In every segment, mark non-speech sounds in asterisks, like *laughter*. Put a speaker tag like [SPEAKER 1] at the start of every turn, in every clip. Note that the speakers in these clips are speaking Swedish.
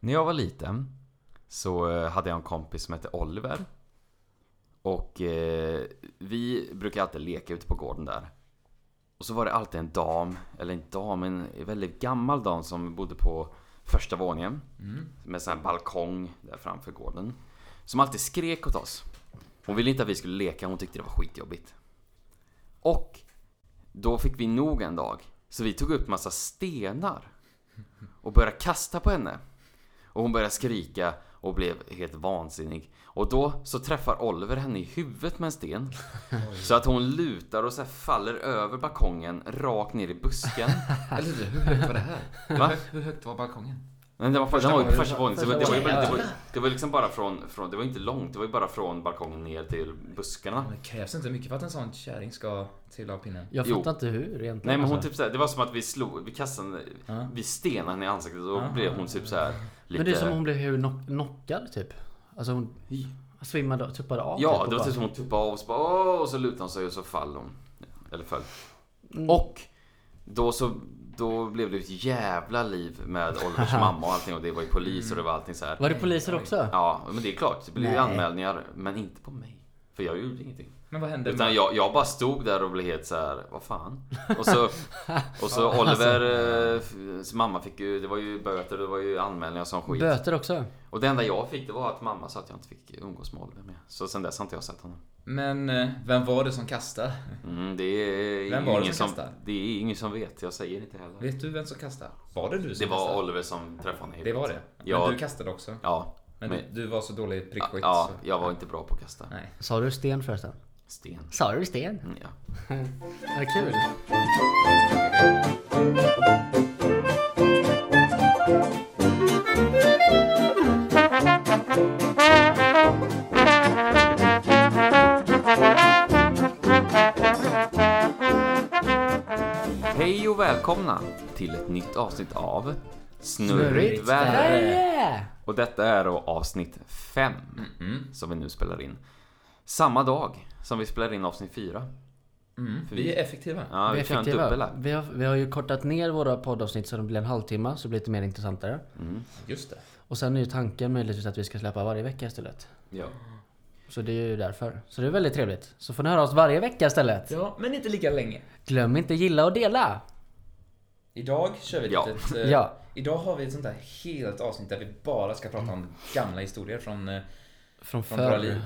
[SPEAKER 1] När jag var liten så eh, hade jag en kompis som hette Oliver. Och eh, vi brukade alltid leka ute på gården där. Och så var det alltid en dam, eller en dam, en väldigt gammal dam som bodde på första våningen. Med sån här balkong där framför gården. Som alltid skrek åt oss. Hon ville inte att vi skulle leka, hon tyckte det var skitjobbigt. Och då fick vi nog en dag. Så vi tog upp massa stenar och började kasta på henne. Och hon började skrika och blev helt vansinnig. Och då så träffar Oliver henne i huvudet med en
[SPEAKER 2] *laughs*
[SPEAKER 1] sten. Så att hon lutar och så här faller över balkongen rakt ner i busken.
[SPEAKER 3] Eller hur, hur högt var det här?
[SPEAKER 1] Va?
[SPEAKER 3] Hur, hö- hur högt var balkongen?
[SPEAKER 1] Men det var, första den var ju på
[SPEAKER 3] våningen.
[SPEAKER 1] första våningen. så Det var, det,
[SPEAKER 2] Första
[SPEAKER 1] var, ju-
[SPEAKER 2] våningen,
[SPEAKER 1] det,
[SPEAKER 2] *laughs*
[SPEAKER 1] var, det var liksom bara från, från, det var inte långt. Det var ju bara från balkongen ner till buskarna.
[SPEAKER 3] Men det krävs inte mycket för att en sån kärring ska trilla av pinnen.
[SPEAKER 2] Jag
[SPEAKER 1] Jo.
[SPEAKER 2] fattar inte hur egentligen.
[SPEAKER 1] Nej men hon
[SPEAKER 2] alltså.
[SPEAKER 1] typ såhär, det var som att vi slog, vi kastade,
[SPEAKER 3] Ja.
[SPEAKER 1] vi stenade henne i ansiktet och då
[SPEAKER 3] Aha.
[SPEAKER 1] blev hon typ såhär lite...
[SPEAKER 2] Ah. Men det är som om hon blev hur knock- knockad typ. Alltså hon svimmade och tuppade av.
[SPEAKER 1] Ja,
[SPEAKER 2] och
[SPEAKER 1] det var
[SPEAKER 2] bara-
[SPEAKER 1] typ som hon tuppade av och så bara, "Åh", och så lutade hon sig och så fall hon. Eller föll.
[SPEAKER 2] Mm.
[SPEAKER 1] Och då så, då blev det ett jävla liv med Olivers mamma och allting och det var ju polis och det var
[SPEAKER 3] Mm.
[SPEAKER 1] allting så här.
[SPEAKER 2] Var det poliser också?
[SPEAKER 1] Ja, men det är klart. Det blev ju
[SPEAKER 2] Nej.
[SPEAKER 1] anmälningar, men inte på mig. För jag gjorde ingenting.
[SPEAKER 3] Men vad hände?
[SPEAKER 1] Utan
[SPEAKER 3] med-
[SPEAKER 1] jag, jag bara stod där och blev helt så här, vad fan? Och
[SPEAKER 3] *laughs*
[SPEAKER 1] så, och så
[SPEAKER 3] alltså.
[SPEAKER 1] Oliver, eh, f- mamma fick ju, det var ju böter, det var ju anmälningar som skit.
[SPEAKER 2] Böter också?
[SPEAKER 1] Och det enda jag fick det var att mamma sa att jag inte fick umgås med Oliver mer. Så sen dess har inte jag sett honom.
[SPEAKER 3] Men eh, vem var det som kastade?
[SPEAKER 1] Mm, det är
[SPEAKER 3] Vem var det
[SPEAKER 1] ingen
[SPEAKER 3] som
[SPEAKER 1] som,
[SPEAKER 3] kastade?
[SPEAKER 1] Det är ingen som vet, jag säger inte heller.
[SPEAKER 3] Vet du vem som kastade? Var det du som
[SPEAKER 1] Det var
[SPEAKER 3] kastade?
[SPEAKER 1] Oliver som träffade honom.
[SPEAKER 3] Det var det?
[SPEAKER 1] Ja.
[SPEAKER 3] Men du kastade också?
[SPEAKER 1] Ja.
[SPEAKER 3] Men,
[SPEAKER 1] Men-
[SPEAKER 3] du, du var så dålig prickskytt
[SPEAKER 1] Ja,
[SPEAKER 3] så...
[SPEAKER 1] jag var inte bra på att kasta.
[SPEAKER 3] Nej.
[SPEAKER 2] Sa du sten förresten?
[SPEAKER 1] Sten.
[SPEAKER 2] Sa du sten?
[SPEAKER 1] Mm, Ja.
[SPEAKER 2] Vad kul.
[SPEAKER 1] Hej och välkomna till ett nytt avsnitt av Snurrigt
[SPEAKER 2] Snurrigt
[SPEAKER 1] väder.
[SPEAKER 2] Yeah!
[SPEAKER 1] Och detta är då avsnitt 5 som vi nu spelar in. Samma dag som vi spelar in avsnitt 4.
[SPEAKER 3] Mm. Vi är effektiva.
[SPEAKER 1] Ja,
[SPEAKER 2] vi
[SPEAKER 1] vi,
[SPEAKER 2] är
[SPEAKER 1] kör en dubbel
[SPEAKER 2] effektiva.
[SPEAKER 1] här.
[SPEAKER 2] Vi har, vi har ju kortat ner våra poddavsnitt så de blir en halvtimme, så det blir lite mer intressantare.
[SPEAKER 3] Just det.
[SPEAKER 2] Och sen är ju tanken möjligtvis att vi ska släppa varje vecka istället.
[SPEAKER 1] Ja.
[SPEAKER 2] Så det är ju därför. Så det är väldigt trevligt. Så får ni höra oss varje vecka istället.
[SPEAKER 3] Ja, men inte lika länge.
[SPEAKER 2] Glöm inte gilla och dela!
[SPEAKER 3] Idag kör vi ett
[SPEAKER 1] Ja.
[SPEAKER 3] litet... eh,
[SPEAKER 2] Ja.
[SPEAKER 3] Idag har vi ett sånt här helt avsnitt där vi bara ska prata om gamla historier från, eh,
[SPEAKER 2] Från
[SPEAKER 3] från våra
[SPEAKER 2] förr.
[SPEAKER 3] liv.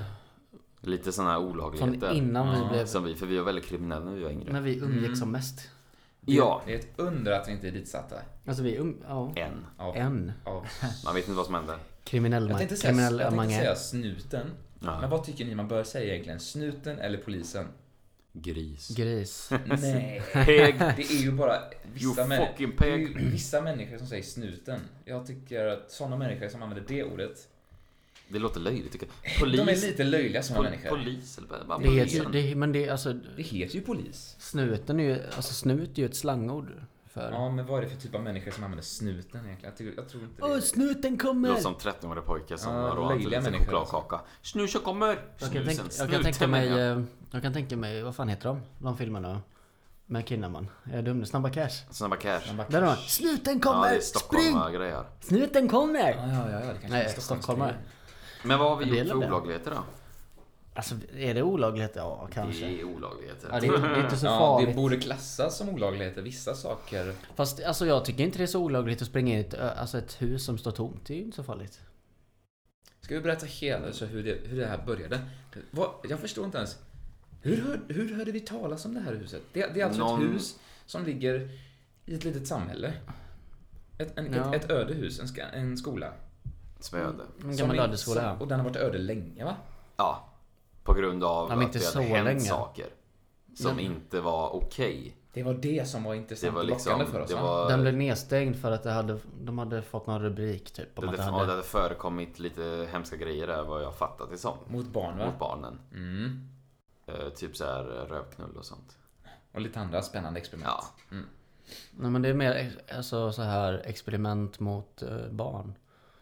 [SPEAKER 1] Lite sådana här
[SPEAKER 2] Från
[SPEAKER 1] olagligheter.
[SPEAKER 2] innan vi blev...
[SPEAKER 1] Som vi, för vi var väldigt kriminella när vi var yngre.
[SPEAKER 2] När vi umgicks som mest.
[SPEAKER 1] Ja,
[SPEAKER 3] Det är ett under att vi inte är ditsatta.
[SPEAKER 2] Alltså vi um... Ja.
[SPEAKER 1] en.
[SPEAKER 3] Av,
[SPEAKER 2] En.
[SPEAKER 3] av
[SPEAKER 1] Man vet inte vad som hände.
[SPEAKER 2] Kriminell
[SPEAKER 3] Jag
[SPEAKER 2] man.
[SPEAKER 3] tänkte säga,
[SPEAKER 2] Kriminell
[SPEAKER 3] jag tänkte
[SPEAKER 2] mange.
[SPEAKER 3] säga snuten.
[SPEAKER 1] Ja.
[SPEAKER 3] Men vad tycker ni man bör säga egentligen? Snuten eller polisen?
[SPEAKER 1] Gris.
[SPEAKER 2] Gris.
[SPEAKER 3] *laughs* Nej.
[SPEAKER 1] Peg.
[SPEAKER 3] Det är ju bara
[SPEAKER 1] You
[SPEAKER 3] vissa, män-
[SPEAKER 1] fucking
[SPEAKER 3] det är
[SPEAKER 1] peg.
[SPEAKER 3] ju vissa människor som säger snuten. Jag tycker att sådana människor som använder det ordet,
[SPEAKER 1] Det låter löjligt tycker jag.
[SPEAKER 3] de är
[SPEAKER 1] Polis.
[SPEAKER 3] lite löjliga sådana
[SPEAKER 1] Pol-
[SPEAKER 3] människor.
[SPEAKER 1] polis eller vad?
[SPEAKER 2] Det heter ju...
[SPEAKER 1] Polisen.
[SPEAKER 2] det- Men det är alltså...
[SPEAKER 3] det heter ju polis.
[SPEAKER 2] Snuten är ju... Alltså snut är ju ett slangord. För...
[SPEAKER 3] Ja, men vad är det för typ av människor som använder snuten egentligen? Jag, tycker, jag tror inte det.
[SPEAKER 2] Åh, snuten
[SPEAKER 1] Det
[SPEAKER 2] kommer!
[SPEAKER 1] låter som 13-åriga pojkar som
[SPEAKER 3] Ja,
[SPEAKER 1] har rånat
[SPEAKER 3] löjliga
[SPEAKER 1] en liten
[SPEAKER 3] människor alltså.
[SPEAKER 1] chokladkaka. Snusen kommer!
[SPEAKER 2] Jag kan, tänka,
[SPEAKER 1] Snusen,
[SPEAKER 2] jag, kan tänka
[SPEAKER 1] snuten
[SPEAKER 2] mig,
[SPEAKER 1] menar jag.
[SPEAKER 2] eh, jag kan tänka mig, vad fan heter de? De filmerna med Kinnaman. Är jag dum nu? Snabba Cash.
[SPEAKER 1] Snabba cash.
[SPEAKER 3] Man bara,
[SPEAKER 2] Där har man. Snuten
[SPEAKER 1] Ja,
[SPEAKER 2] kommer!
[SPEAKER 1] det är
[SPEAKER 2] Spring!
[SPEAKER 1] Stockholm-grejer.
[SPEAKER 2] Snuten kommer!
[SPEAKER 3] Ja, ja, ja, det kanske
[SPEAKER 2] Nej,
[SPEAKER 3] är Stockholms-
[SPEAKER 2] stockholmare.
[SPEAKER 1] Men vad har vi
[SPEAKER 2] En del
[SPEAKER 1] gjort för
[SPEAKER 2] av det.
[SPEAKER 1] olagligheter då?
[SPEAKER 2] Alltså är det olagligt? Ja, kanske.
[SPEAKER 1] Det är olagligheter.
[SPEAKER 2] Ja, det, är, det är inte så
[SPEAKER 3] Ja,
[SPEAKER 2] farligt.
[SPEAKER 3] det borde klassas som olagligheter, vissa saker.
[SPEAKER 2] Fast alltså, jag tycker inte det är så olagligt att springa in i ett, ö- alltså, ett hus som står tomt. Det är ju inte så farligt.
[SPEAKER 3] Ska vi berätta hela så hur, det, hur det här började? Vad, jag förstår inte ens. Hur, hör, hur hörde vi talas om det här huset? Det, det är alltså
[SPEAKER 1] Någon-
[SPEAKER 3] ett hus som ligger i ett litet samhälle. Ett, en,
[SPEAKER 2] Ja.
[SPEAKER 3] ett, ett öde hus, en, ska, en skola.
[SPEAKER 1] Spöde.
[SPEAKER 3] Som
[SPEAKER 2] En gammal
[SPEAKER 3] är-
[SPEAKER 2] ödeskola.
[SPEAKER 3] som-
[SPEAKER 2] ja.
[SPEAKER 3] Och den har varit öde länge va?
[SPEAKER 1] Ja. På grund av
[SPEAKER 2] Ja, men
[SPEAKER 1] att
[SPEAKER 2] inte
[SPEAKER 1] det
[SPEAKER 2] så
[SPEAKER 1] hade hänt
[SPEAKER 2] länge.
[SPEAKER 1] saker. Som inte var okej.
[SPEAKER 3] Det var det som var
[SPEAKER 1] Det
[SPEAKER 3] intressant
[SPEAKER 1] var
[SPEAKER 3] och
[SPEAKER 1] liksom...
[SPEAKER 3] lockande för oss
[SPEAKER 1] Det
[SPEAKER 3] va?
[SPEAKER 1] var...
[SPEAKER 2] Den blev nedstängd för att det hade, de hade fått någon rubrik typ.
[SPEAKER 1] Det
[SPEAKER 2] Om att
[SPEAKER 1] hade,
[SPEAKER 2] det
[SPEAKER 1] ja, det
[SPEAKER 2] hade,
[SPEAKER 1] hade förekommit lite hemska grejer där vad jag fattat det som.
[SPEAKER 3] Mot barn va?
[SPEAKER 1] Mot barnen.
[SPEAKER 3] Mm.
[SPEAKER 1] Eh, typ så här eh, rövknull och sånt.
[SPEAKER 3] Och lite andra spännande experiment.
[SPEAKER 1] Ja.
[SPEAKER 2] nej, men det är mer ex- alltså, så här experiment mot eh, barn.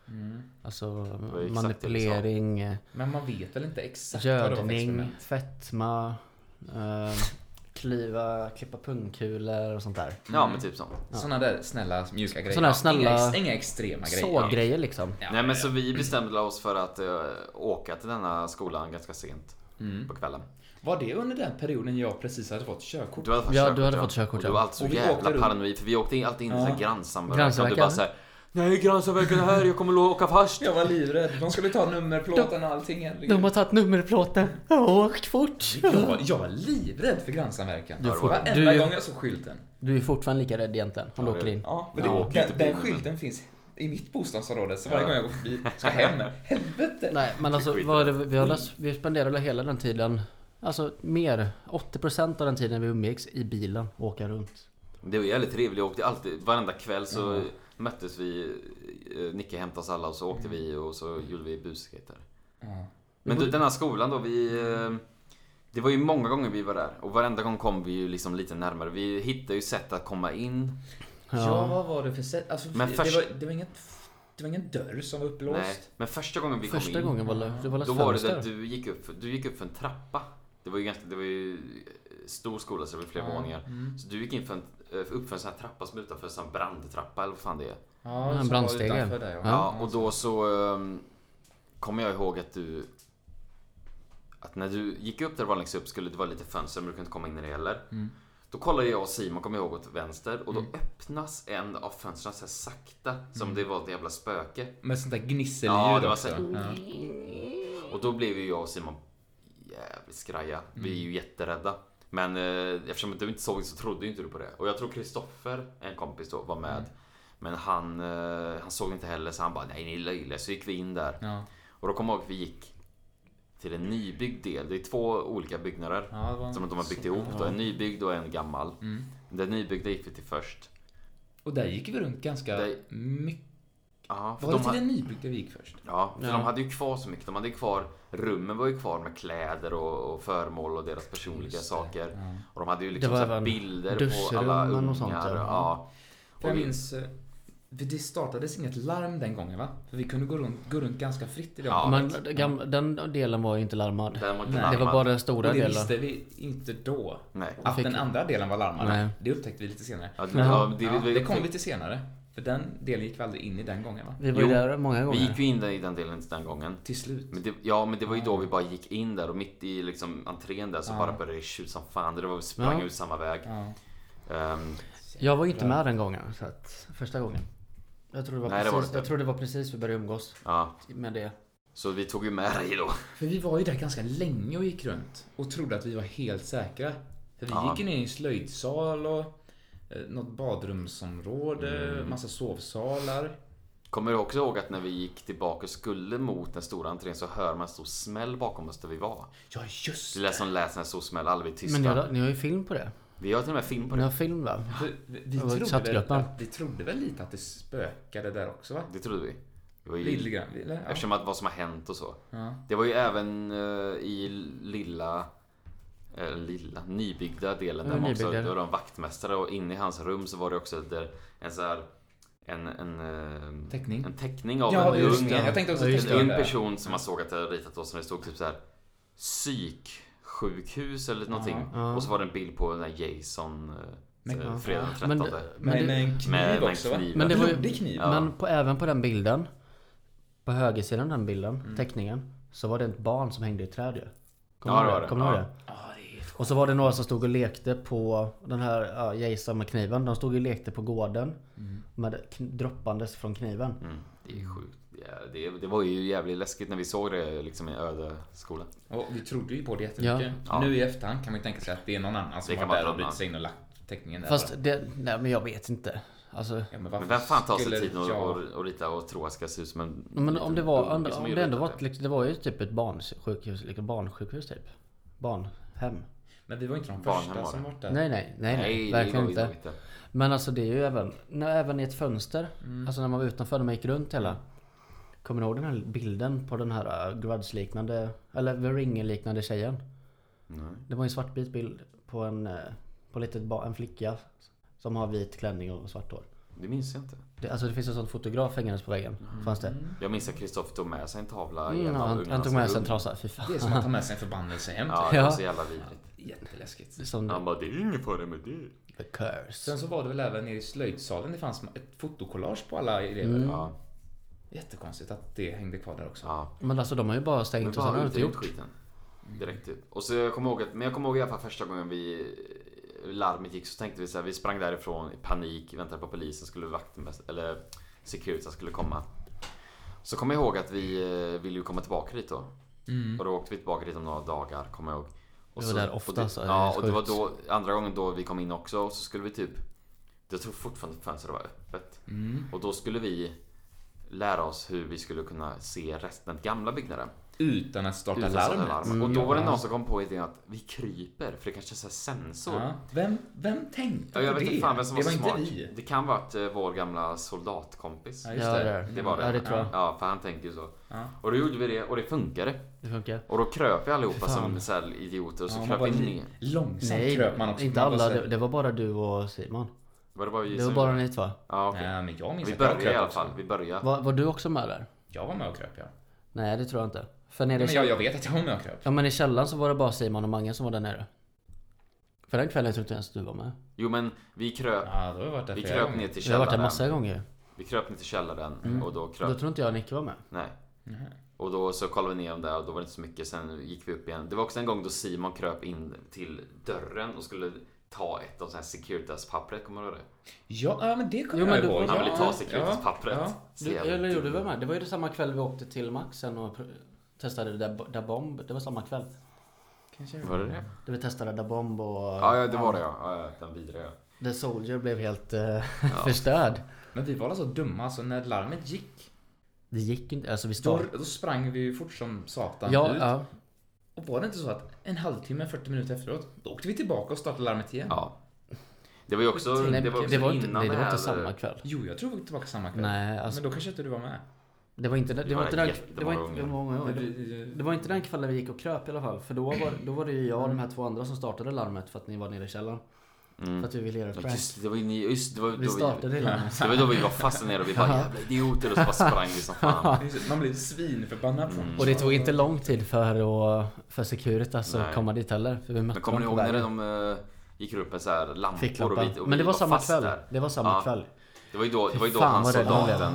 [SPEAKER 3] Mm.
[SPEAKER 2] Alltså
[SPEAKER 1] var ju exakt det vi sa.
[SPEAKER 2] manipulering. eh,
[SPEAKER 3] Men man vet väl inte exakt vad det var för
[SPEAKER 2] Gödning,
[SPEAKER 3] experiment?
[SPEAKER 2] fetma, eh, Klyva, klippa pungkulor och sånt där.
[SPEAKER 1] Ja men typ sånt.
[SPEAKER 3] Såna där snälla mjuka grejer.
[SPEAKER 2] Såna där
[SPEAKER 3] Ja, Inga,
[SPEAKER 2] snälla-
[SPEAKER 3] ex- inga extrema grejer.
[SPEAKER 2] Såggrejer liksom.
[SPEAKER 3] Ja,
[SPEAKER 1] Nej men så vi bestämde oss för att eh, åka till denna skolan ganska sent på kvällen.
[SPEAKER 3] Var det under den perioden jag precis hade fått körkort?
[SPEAKER 1] Du hade fått
[SPEAKER 2] Ja,
[SPEAKER 1] körkort
[SPEAKER 2] du hade fått körkort,
[SPEAKER 1] Och du
[SPEAKER 2] ja.
[SPEAKER 1] var alltid så
[SPEAKER 3] Och vi åkte
[SPEAKER 1] jävla
[SPEAKER 3] runt.
[SPEAKER 1] paranoid för vi åkte in- alltid in i
[SPEAKER 3] Ja.
[SPEAKER 1] ja. grannsamverkan. Och du
[SPEAKER 2] Grannsamverkan.
[SPEAKER 1] bara såhär Nej grannsamverkan är här, jag kommer att åka fast.
[SPEAKER 3] Jag var livrädd. De skulle ta nummerplåten och allting. herregud.
[SPEAKER 2] De har tagit nummerplåten. Åk fort!
[SPEAKER 3] Jag var, jag var livrädd för grannsamverkan.
[SPEAKER 2] Du får-
[SPEAKER 3] Varenda
[SPEAKER 2] du-
[SPEAKER 3] gång jag såg skylten.
[SPEAKER 2] Du är fortfarande lika rädd egentligen om du
[SPEAKER 1] Ja,
[SPEAKER 2] åker
[SPEAKER 1] det-
[SPEAKER 2] in.
[SPEAKER 3] Ja, men
[SPEAKER 1] Ja,
[SPEAKER 3] det,
[SPEAKER 1] åker inte
[SPEAKER 3] den,
[SPEAKER 1] bil,
[SPEAKER 3] den
[SPEAKER 1] men-
[SPEAKER 3] skylten finns i mitt bostadsområde. Så varje
[SPEAKER 1] Ja.
[SPEAKER 3] gång jag går förbi ska hem. *laughs* Helvete!
[SPEAKER 2] Nej men alltså
[SPEAKER 1] Skit. Mm.
[SPEAKER 2] vad är det, vi, har, lös- vi spenderade hela den tiden Alltså mer 80% av den tiden vi umgicks i bilen och åka runt
[SPEAKER 1] Det var jävligt trevligt. Jag åkte alltid, varenda kväll så möttes vi. eh, Nicke hämtade oss alla och så åkte vi och så gjorde vi busskater.
[SPEAKER 3] Ja.
[SPEAKER 1] Men du, den här skolan då, vi... eh, Det var ju många gånger vi var där och varenda gång kom vi ju liksom lite närmare. Vi hittade ju sätt att komma in.
[SPEAKER 2] Ja.
[SPEAKER 3] Ja, vad var det för sätt? Alltså,
[SPEAKER 1] Men
[SPEAKER 3] det,
[SPEAKER 1] först-
[SPEAKER 3] var, det, var ingen, det var ingen dörr som var upplåst.
[SPEAKER 1] Nej, men första gången vi kom
[SPEAKER 2] Första
[SPEAKER 1] in,
[SPEAKER 2] gången var lö- det var
[SPEAKER 1] då
[SPEAKER 2] löst
[SPEAKER 1] var det så att
[SPEAKER 2] fönster
[SPEAKER 1] du gick upp, för- du gick upp för en trappa. Det var ju ganska, det var ju eh, stor skola så det var flera
[SPEAKER 3] Ja,
[SPEAKER 1] våningar.
[SPEAKER 3] mm.
[SPEAKER 1] Så du gick in för en, eh, upp för en sån här trappa som är utanför en sån här brandtrappa eller vad fan det är.
[SPEAKER 3] Ja,
[SPEAKER 2] en
[SPEAKER 3] som var
[SPEAKER 2] brandstege.
[SPEAKER 3] utanför där,
[SPEAKER 1] Ja,
[SPEAKER 2] Ja.
[SPEAKER 1] och då så um, kommer jag ihåg att du... Att när du gick upp där det var längst upp skulle det vara lite fönster men du kunde inte komma in när det heller.
[SPEAKER 3] Mm.
[SPEAKER 1] Då kollade jag och Simon, kommer jag ihåg, åt vänster och
[SPEAKER 2] Mm.
[SPEAKER 1] då öppnas en av fönstren så här sakta som det var ett jävla spöke.
[SPEAKER 3] Med sånt där gnisselljud
[SPEAKER 1] Ja, det var
[SPEAKER 3] också.
[SPEAKER 1] så-
[SPEAKER 3] Ja.
[SPEAKER 1] Och då blev ju jag och Simon jävligt skraja. Vi
[SPEAKER 3] Mm.
[SPEAKER 1] är ju jätterädda. Men eh, eftersom du inte såg det så trodde ju inte du på det. Och jag tror Kristoffer, en kompis då, var
[SPEAKER 3] Mm.
[SPEAKER 1] med. Men han, eh, han såg inte heller så han bara nej ni är löjliga. Så gick vi in där.
[SPEAKER 3] Ja.
[SPEAKER 1] Och då kommer jag ihåg att vi gick till en nybyggd del. Det är två olika byggnader.
[SPEAKER 3] Ja, det var...
[SPEAKER 1] Som de har byggt ihop då. En nybyggd och en gammal.
[SPEAKER 3] Mm.
[SPEAKER 1] Den nybyggda gick vi till först.
[SPEAKER 3] Och där gick vi runt ganska
[SPEAKER 1] Där-
[SPEAKER 3] mycket.
[SPEAKER 1] Ja, för
[SPEAKER 3] Var det
[SPEAKER 1] de
[SPEAKER 3] till
[SPEAKER 1] ha...
[SPEAKER 3] den nybyggda vi gick först?
[SPEAKER 1] ja, för
[SPEAKER 2] Ja.
[SPEAKER 1] de hade ju kvar så mycket. De hade ju kvar, rummen var ju kvar med kläder och, och föremål och deras personliga
[SPEAKER 3] Just det.
[SPEAKER 1] saker.
[SPEAKER 3] Ja.
[SPEAKER 1] Och de hade ju liksom
[SPEAKER 2] Det var
[SPEAKER 1] så här
[SPEAKER 2] även
[SPEAKER 1] bilder på
[SPEAKER 2] duschrum
[SPEAKER 1] alla
[SPEAKER 2] och
[SPEAKER 1] ungar.
[SPEAKER 2] något sånt där.
[SPEAKER 1] ja.
[SPEAKER 3] För jag
[SPEAKER 1] Och vi-
[SPEAKER 3] minns, eh, för det startades inget larm den gången va? För vi kunde gå runt, gå runt ganska fritt i det
[SPEAKER 1] Ja,
[SPEAKER 2] Men
[SPEAKER 3] området.
[SPEAKER 2] gam- den delen var ju inte larmad
[SPEAKER 1] Den var inte
[SPEAKER 3] Nej,
[SPEAKER 2] Det var
[SPEAKER 1] larmad.
[SPEAKER 2] bara den
[SPEAKER 3] Och
[SPEAKER 2] stora
[SPEAKER 3] det
[SPEAKER 2] delen
[SPEAKER 3] visste vi inte då.
[SPEAKER 1] Nej.
[SPEAKER 3] Att
[SPEAKER 2] fick-
[SPEAKER 3] den andra delen var larmad.
[SPEAKER 2] Nej.
[SPEAKER 3] Det upptäckte vi lite senare.
[SPEAKER 1] Ja, det,
[SPEAKER 2] Jaha.
[SPEAKER 1] ja, det,
[SPEAKER 3] Ja,
[SPEAKER 1] vi,
[SPEAKER 3] det kom vi till senare. För den delen gick vi aldrig in i den gången va?
[SPEAKER 2] Vi var ju
[SPEAKER 1] Jo,
[SPEAKER 2] där många
[SPEAKER 1] vi gick
[SPEAKER 2] gånger
[SPEAKER 1] ju in där i den delen den gången.
[SPEAKER 3] Till slut.
[SPEAKER 1] Men det, ja, men det var ju då vi bara gick in där och mitt i liksom entrén där så
[SPEAKER 3] Ja.
[SPEAKER 1] bara började det tjuta som fan. Det var vi sprang
[SPEAKER 2] Ja.
[SPEAKER 1] ut samma väg.
[SPEAKER 3] Ja.
[SPEAKER 1] Ehm,
[SPEAKER 2] Jag var ju inte med den gången så att, Första gången jag tror, det var
[SPEAKER 1] Nej, det var
[SPEAKER 2] precis,
[SPEAKER 1] det inte.
[SPEAKER 2] jag tror det var precis vi började umgås
[SPEAKER 1] ja,
[SPEAKER 2] med det.
[SPEAKER 1] så vi tog ju med dig då.
[SPEAKER 3] För vi var ju där ganska länge och gick runt. Och trodde att vi var helt säkra. För vi
[SPEAKER 1] Ja.
[SPEAKER 3] gick ju ner i en slöjdsal och eh, något badrumsområde, massa sovsalar.
[SPEAKER 1] Kommer du också ihåg att när vi gick tillbaka och skulle mot den stora entrén så hör man en stor smäll bakom oss där vi var.
[SPEAKER 3] Ja just
[SPEAKER 1] Det lät som läs en stor smäll, alla vi tysta.
[SPEAKER 2] Men ni har, ni har ju film på det.
[SPEAKER 1] Vi har till och med film på
[SPEAKER 2] Ni
[SPEAKER 1] det.
[SPEAKER 2] har film va?
[SPEAKER 3] För vi, vi,
[SPEAKER 2] Det var
[SPEAKER 3] trodde väl,
[SPEAKER 2] chattgruppen.
[SPEAKER 3] att, vi trodde väl lite att det spökade där också va?
[SPEAKER 1] Det trodde vi. Det var
[SPEAKER 3] Lite
[SPEAKER 1] ju,
[SPEAKER 3] grann. Eller? Ja.
[SPEAKER 1] eftersom att vad som har hänt och så.
[SPEAKER 3] Mm. Ja.
[SPEAKER 1] Det var ju även eh, i lilla eh, Lilla, nybyggda delen
[SPEAKER 2] Ja,
[SPEAKER 1] där man också,
[SPEAKER 2] nybyggda.
[SPEAKER 1] det var en vaktmästare och inne i hans rum så var det också där en så här En, en, eh,
[SPEAKER 3] Teckning.
[SPEAKER 1] en teckning av
[SPEAKER 3] Ja,
[SPEAKER 1] en
[SPEAKER 3] just
[SPEAKER 1] ung,
[SPEAKER 3] det. Jag tänkte också
[SPEAKER 1] en,
[SPEAKER 3] teckning
[SPEAKER 1] ung
[SPEAKER 3] där.
[SPEAKER 1] person som man såg att det hade ritat och som det stod typ så här Psyksjukhus eller någonting
[SPEAKER 2] Ja.
[SPEAKER 1] och så var det en bild på den här Jason eh,
[SPEAKER 3] Men-
[SPEAKER 1] eh, Fredag den
[SPEAKER 2] Men,
[SPEAKER 1] 13
[SPEAKER 2] men, det,
[SPEAKER 3] en
[SPEAKER 1] med, med kniven.
[SPEAKER 2] Men det var ju-
[SPEAKER 3] Blodig kniv.
[SPEAKER 1] Ja.
[SPEAKER 2] men på, även på den bilden. På högersidan av den bilden,
[SPEAKER 1] Mm.
[SPEAKER 2] teckningen. Så var det ett barn som hängde i ett träd ju.
[SPEAKER 1] Ja,
[SPEAKER 2] du ihåg
[SPEAKER 1] det var det.
[SPEAKER 2] Kommer du ihåg
[SPEAKER 1] Ja.
[SPEAKER 2] det?
[SPEAKER 3] Ja, det är f-
[SPEAKER 2] Och så var det några som stod och lekte på den här ja, Jason med kniven. De stod och lekte på gården. Med kn- droppandes från kniven.
[SPEAKER 1] Mm, det är sjukt. Det, är- det, det var ju jävligt läskigt när vi såg det liksom i öde skola.
[SPEAKER 3] Och vi trodde ju på det jättemycket.
[SPEAKER 1] Ja.
[SPEAKER 3] Nu i efterhand kan man ju tänka sig att det är någon annan som
[SPEAKER 1] Det kan
[SPEAKER 3] var
[SPEAKER 1] vara
[SPEAKER 3] där
[SPEAKER 1] någon
[SPEAKER 3] och brutit
[SPEAKER 1] annan.
[SPEAKER 3] sig in och lagt teckningen där.
[SPEAKER 2] Fast det, nej men jag vet inte. Alltså,
[SPEAKER 3] ja, men, varför
[SPEAKER 1] Men vem fan tar sig
[SPEAKER 3] skulle
[SPEAKER 1] tiden att
[SPEAKER 3] jag-
[SPEAKER 1] och, och rita och tro att ska se ut som en
[SPEAKER 2] men
[SPEAKER 1] liten
[SPEAKER 2] om det var,
[SPEAKER 1] unge
[SPEAKER 2] om
[SPEAKER 1] som
[SPEAKER 2] om
[SPEAKER 1] gjorde
[SPEAKER 2] det ändå
[SPEAKER 1] det.
[SPEAKER 2] var, liksom, det var ju typ ett barnsjukhus, liksom barnsjukhus typ. Barnhem.
[SPEAKER 3] Men vi var inte de
[SPEAKER 1] Barnen
[SPEAKER 3] första
[SPEAKER 1] var det.
[SPEAKER 3] som var där.
[SPEAKER 2] Nej nej, nej, nej,
[SPEAKER 1] det
[SPEAKER 2] verkligen
[SPEAKER 1] var ju
[SPEAKER 2] inte. Men alltså det är ju även, när, även i ett fönster. Alltså när man var utanför, när man gick runt hela. Kommer ni ihåg den här bilden på den här äh, Grudge-liknande, eller The Ring-liknande tjejen?
[SPEAKER 1] Nej.
[SPEAKER 2] Det var en svartvit bild på en, eh, på litet ba- en flicka som har vit klänning och svart hår.
[SPEAKER 1] Det minns jag inte.
[SPEAKER 2] Det, alltså det finns en sån fotograf hängandes på väggen. Fanns det?
[SPEAKER 1] Jag minns att Kristoffer tog med sig en tavla i
[SPEAKER 2] Mm,
[SPEAKER 1] en av
[SPEAKER 2] han,
[SPEAKER 1] ungarnas
[SPEAKER 2] han tog med sig en
[SPEAKER 1] rum.
[SPEAKER 2] trasa. Fy fan.
[SPEAKER 3] Det är som att ta med sig en förbannelse hem.
[SPEAKER 1] Ja, det var
[SPEAKER 2] Ja.
[SPEAKER 1] så jävla vidrigt.
[SPEAKER 3] jätteläskigt.
[SPEAKER 2] Som
[SPEAKER 1] Han bara, det är inget för det med det.
[SPEAKER 2] the curse.
[SPEAKER 3] Sen så var det väl även nere i slöjdsalen det fanns ett fotokollage på alla elever.
[SPEAKER 2] Mm.
[SPEAKER 1] Ja,
[SPEAKER 3] Jättekonstigt att det hängde kvar där också.
[SPEAKER 1] ja.
[SPEAKER 2] Men alltså de har ju bara
[SPEAKER 1] Men
[SPEAKER 2] stängt och sen
[SPEAKER 1] fan,
[SPEAKER 2] har de
[SPEAKER 1] har
[SPEAKER 2] inte gjort.
[SPEAKER 1] skiten. Direkt typ. Och så jag kommer ihåg att, men jag kommer ihåg i alla fall första gången vi larmet gick så tänkte vi så här, vi sprang därifrån i panik, väntade på polisen, skulle vakten, eller Securitas skulle komma. Så kommer jag ihåg att vi eh, ville ju komma tillbaka dit då.
[SPEAKER 3] Mm.
[SPEAKER 1] Och då åkte vi tillbaka dit om några dagar, kommer jag ihåg. Och
[SPEAKER 2] Det var där ofta,
[SPEAKER 1] och det,
[SPEAKER 2] så är det
[SPEAKER 1] Ja, och det var
[SPEAKER 2] sjukt.
[SPEAKER 1] då, andra gången då vi kom in också, och så skulle vi typ Jag tror fortfarande fönstret var öppet.
[SPEAKER 3] Mm.
[SPEAKER 1] Och då skulle vi lära oss hur vi skulle kunna se resten, den gamla byggnaden.
[SPEAKER 3] Utan att starta
[SPEAKER 1] Utan
[SPEAKER 3] larmet. Mm.
[SPEAKER 1] sådana larm. och då var det någon som kom på idén att vi kryper, för det kanske är så här sensor.
[SPEAKER 3] Ja. Vem, vem tänkte
[SPEAKER 1] Ja, jag
[SPEAKER 3] på
[SPEAKER 1] vet
[SPEAKER 3] det?
[SPEAKER 1] inte fan vem som
[SPEAKER 3] det
[SPEAKER 1] var,
[SPEAKER 3] var
[SPEAKER 1] så smart.
[SPEAKER 3] inte vi.
[SPEAKER 1] Det kan vara att eh, vår gamla soldatkompis.
[SPEAKER 3] Ja,
[SPEAKER 1] Ja,
[SPEAKER 3] just
[SPEAKER 2] Ja,
[SPEAKER 3] det.
[SPEAKER 2] det är
[SPEAKER 1] det var det.
[SPEAKER 2] Ja, det tror jag.
[SPEAKER 1] Ja, för han tänker ju så.
[SPEAKER 3] Ja.
[SPEAKER 1] Och då gjorde vi det och det funkade.
[SPEAKER 2] Det funkar.
[SPEAKER 1] Och då kröp vi allihopa
[SPEAKER 2] Fan.
[SPEAKER 1] som så här idioter och så
[SPEAKER 3] Ja, man
[SPEAKER 1] kröp
[SPEAKER 3] var
[SPEAKER 1] vi
[SPEAKER 3] li-
[SPEAKER 1] ner.
[SPEAKER 3] långsamt
[SPEAKER 2] Nej,
[SPEAKER 3] kröp man också.
[SPEAKER 2] inte
[SPEAKER 3] Man bara
[SPEAKER 2] alla.
[SPEAKER 3] så-
[SPEAKER 2] Det, det var bara du och Simon.
[SPEAKER 1] Var det bara vi
[SPEAKER 2] Det var
[SPEAKER 1] som-
[SPEAKER 2] bara ni två.
[SPEAKER 1] Ja, okej.
[SPEAKER 3] Nej, "Äh, men jag minns
[SPEAKER 1] Vi
[SPEAKER 3] att jag
[SPEAKER 1] började i
[SPEAKER 3] kröp
[SPEAKER 1] alla
[SPEAKER 3] också.
[SPEAKER 1] fall. Vi började.
[SPEAKER 2] Var, var du också med där?
[SPEAKER 3] Jag var med och kröp, ja.
[SPEAKER 2] Nej, det tror jag inte. För nere i
[SPEAKER 3] Men jag, jag vet att jag var med och kröp.
[SPEAKER 2] Ja men i källaren så var det bara Simon och Mange som var där nere. För den kvällen tror jag inte ens du var med.
[SPEAKER 1] Jo men vi kröp,
[SPEAKER 3] Ja, då har vi varit där
[SPEAKER 1] vi
[SPEAKER 3] flera
[SPEAKER 1] kröp
[SPEAKER 3] gånger.
[SPEAKER 1] ner till
[SPEAKER 2] Vi har varit där
[SPEAKER 1] källaren.
[SPEAKER 2] massa gånger.
[SPEAKER 1] Vi kröp ner till källaren och då
[SPEAKER 2] Då
[SPEAKER 1] kröp...
[SPEAKER 2] tror inte jag Nicke var med.
[SPEAKER 1] Nej.
[SPEAKER 3] Nej.
[SPEAKER 1] Och då så kollade vi ner dem där och då var det inte så mycket. Sen gick vi upp igen. Det var också en gång då Simon kröp in till dörren och skulle ta ett av sådana här Securitas-pappret. Kommer du ihåg det?
[SPEAKER 3] Ja, ja, men det kommer
[SPEAKER 2] Jo, men
[SPEAKER 3] jag
[SPEAKER 2] du-
[SPEAKER 3] ihåg.
[SPEAKER 1] Han ville
[SPEAKER 3] Ja,
[SPEAKER 1] ta Securitas-pappret.
[SPEAKER 3] ja.
[SPEAKER 1] Så
[SPEAKER 2] Du,
[SPEAKER 1] jävla
[SPEAKER 2] eller gjorde
[SPEAKER 1] dum.
[SPEAKER 2] du väl med? Det var ju det samma kväll vi åkte till Max sen och pr- testade Da Da Bomb. Det var samma kväll.
[SPEAKER 3] Kanske
[SPEAKER 1] Var det det?
[SPEAKER 2] Där vi testade Da Bomb och...
[SPEAKER 1] Ja, ja det var det ja. ja, ja den vidriga ja.
[SPEAKER 2] The Soldier blev helt eh, *laughs* förstörd.
[SPEAKER 3] Men vi var alltså dumma, alltså när larmet gick,
[SPEAKER 2] Det gick inte. Alltså vi
[SPEAKER 3] då,
[SPEAKER 2] stod...
[SPEAKER 3] då sprang vi ju fort som satan
[SPEAKER 2] Ja,
[SPEAKER 3] ut.
[SPEAKER 2] ja.
[SPEAKER 3] Och var det inte så att en halvtimme, 40 minuter efteråt, då åkte vi tillbaka och startade larmet igen?
[SPEAKER 1] ja. Det var ju också,
[SPEAKER 2] Nej,
[SPEAKER 1] det var också
[SPEAKER 2] det var inte,
[SPEAKER 1] innan
[SPEAKER 2] nej, det var
[SPEAKER 1] här.
[SPEAKER 2] inte samma kväll.
[SPEAKER 3] Jo, jag tror vi var tillbaka samma kväll.
[SPEAKER 2] Nej, alltså.
[SPEAKER 3] Men då kanske inte du var med.
[SPEAKER 2] Det var inte den... Det var
[SPEAKER 1] var
[SPEAKER 2] inte den... Det var
[SPEAKER 1] jättemånga
[SPEAKER 2] inte... Det
[SPEAKER 1] gånger.
[SPEAKER 2] var många
[SPEAKER 3] Men
[SPEAKER 2] gånger.
[SPEAKER 3] du-
[SPEAKER 2] Det var inte den kvällen vi gick och kröp i alla fall. För då var, då var det ju jag och de här två andra som startade larmet för att ni var nere i källaren.
[SPEAKER 1] Mm.
[SPEAKER 2] För att vi ville göra ett
[SPEAKER 1] Ja,
[SPEAKER 2] prank.
[SPEAKER 1] Just det, det var ju ni, just det, det var ju
[SPEAKER 2] Vi
[SPEAKER 1] då vi...
[SPEAKER 2] startade larmet.
[SPEAKER 1] Det var ju då vi var fast där nere och vi bara jävla idioter och så bara sprang vi som fan.
[SPEAKER 3] Man blev svinförbannad. Mm.
[SPEAKER 2] Och det tog inte lång tid för, att, för Securitas att
[SPEAKER 1] Nej.
[SPEAKER 2] komma dit heller. För vi mötte
[SPEAKER 1] Men kommer ni
[SPEAKER 2] dem
[SPEAKER 1] ihåg när
[SPEAKER 2] på vägen.
[SPEAKER 1] de eh, gick upp med så här lampor och
[SPEAKER 2] Ficklampan.
[SPEAKER 1] vi, och vi
[SPEAKER 2] Men det var samma
[SPEAKER 1] fast
[SPEAKER 2] kväll.
[SPEAKER 1] Där.
[SPEAKER 2] Det var samma
[SPEAKER 1] Ja.
[SPEAKER 2] kväll.
[SPEAKER 1] Det var ju då, det var ju då
[SPEAKER 2] Fan,
[SPEAKER 1] han
[SPEAKER 2] vad rädd han
[SPEAKER 1] soldaten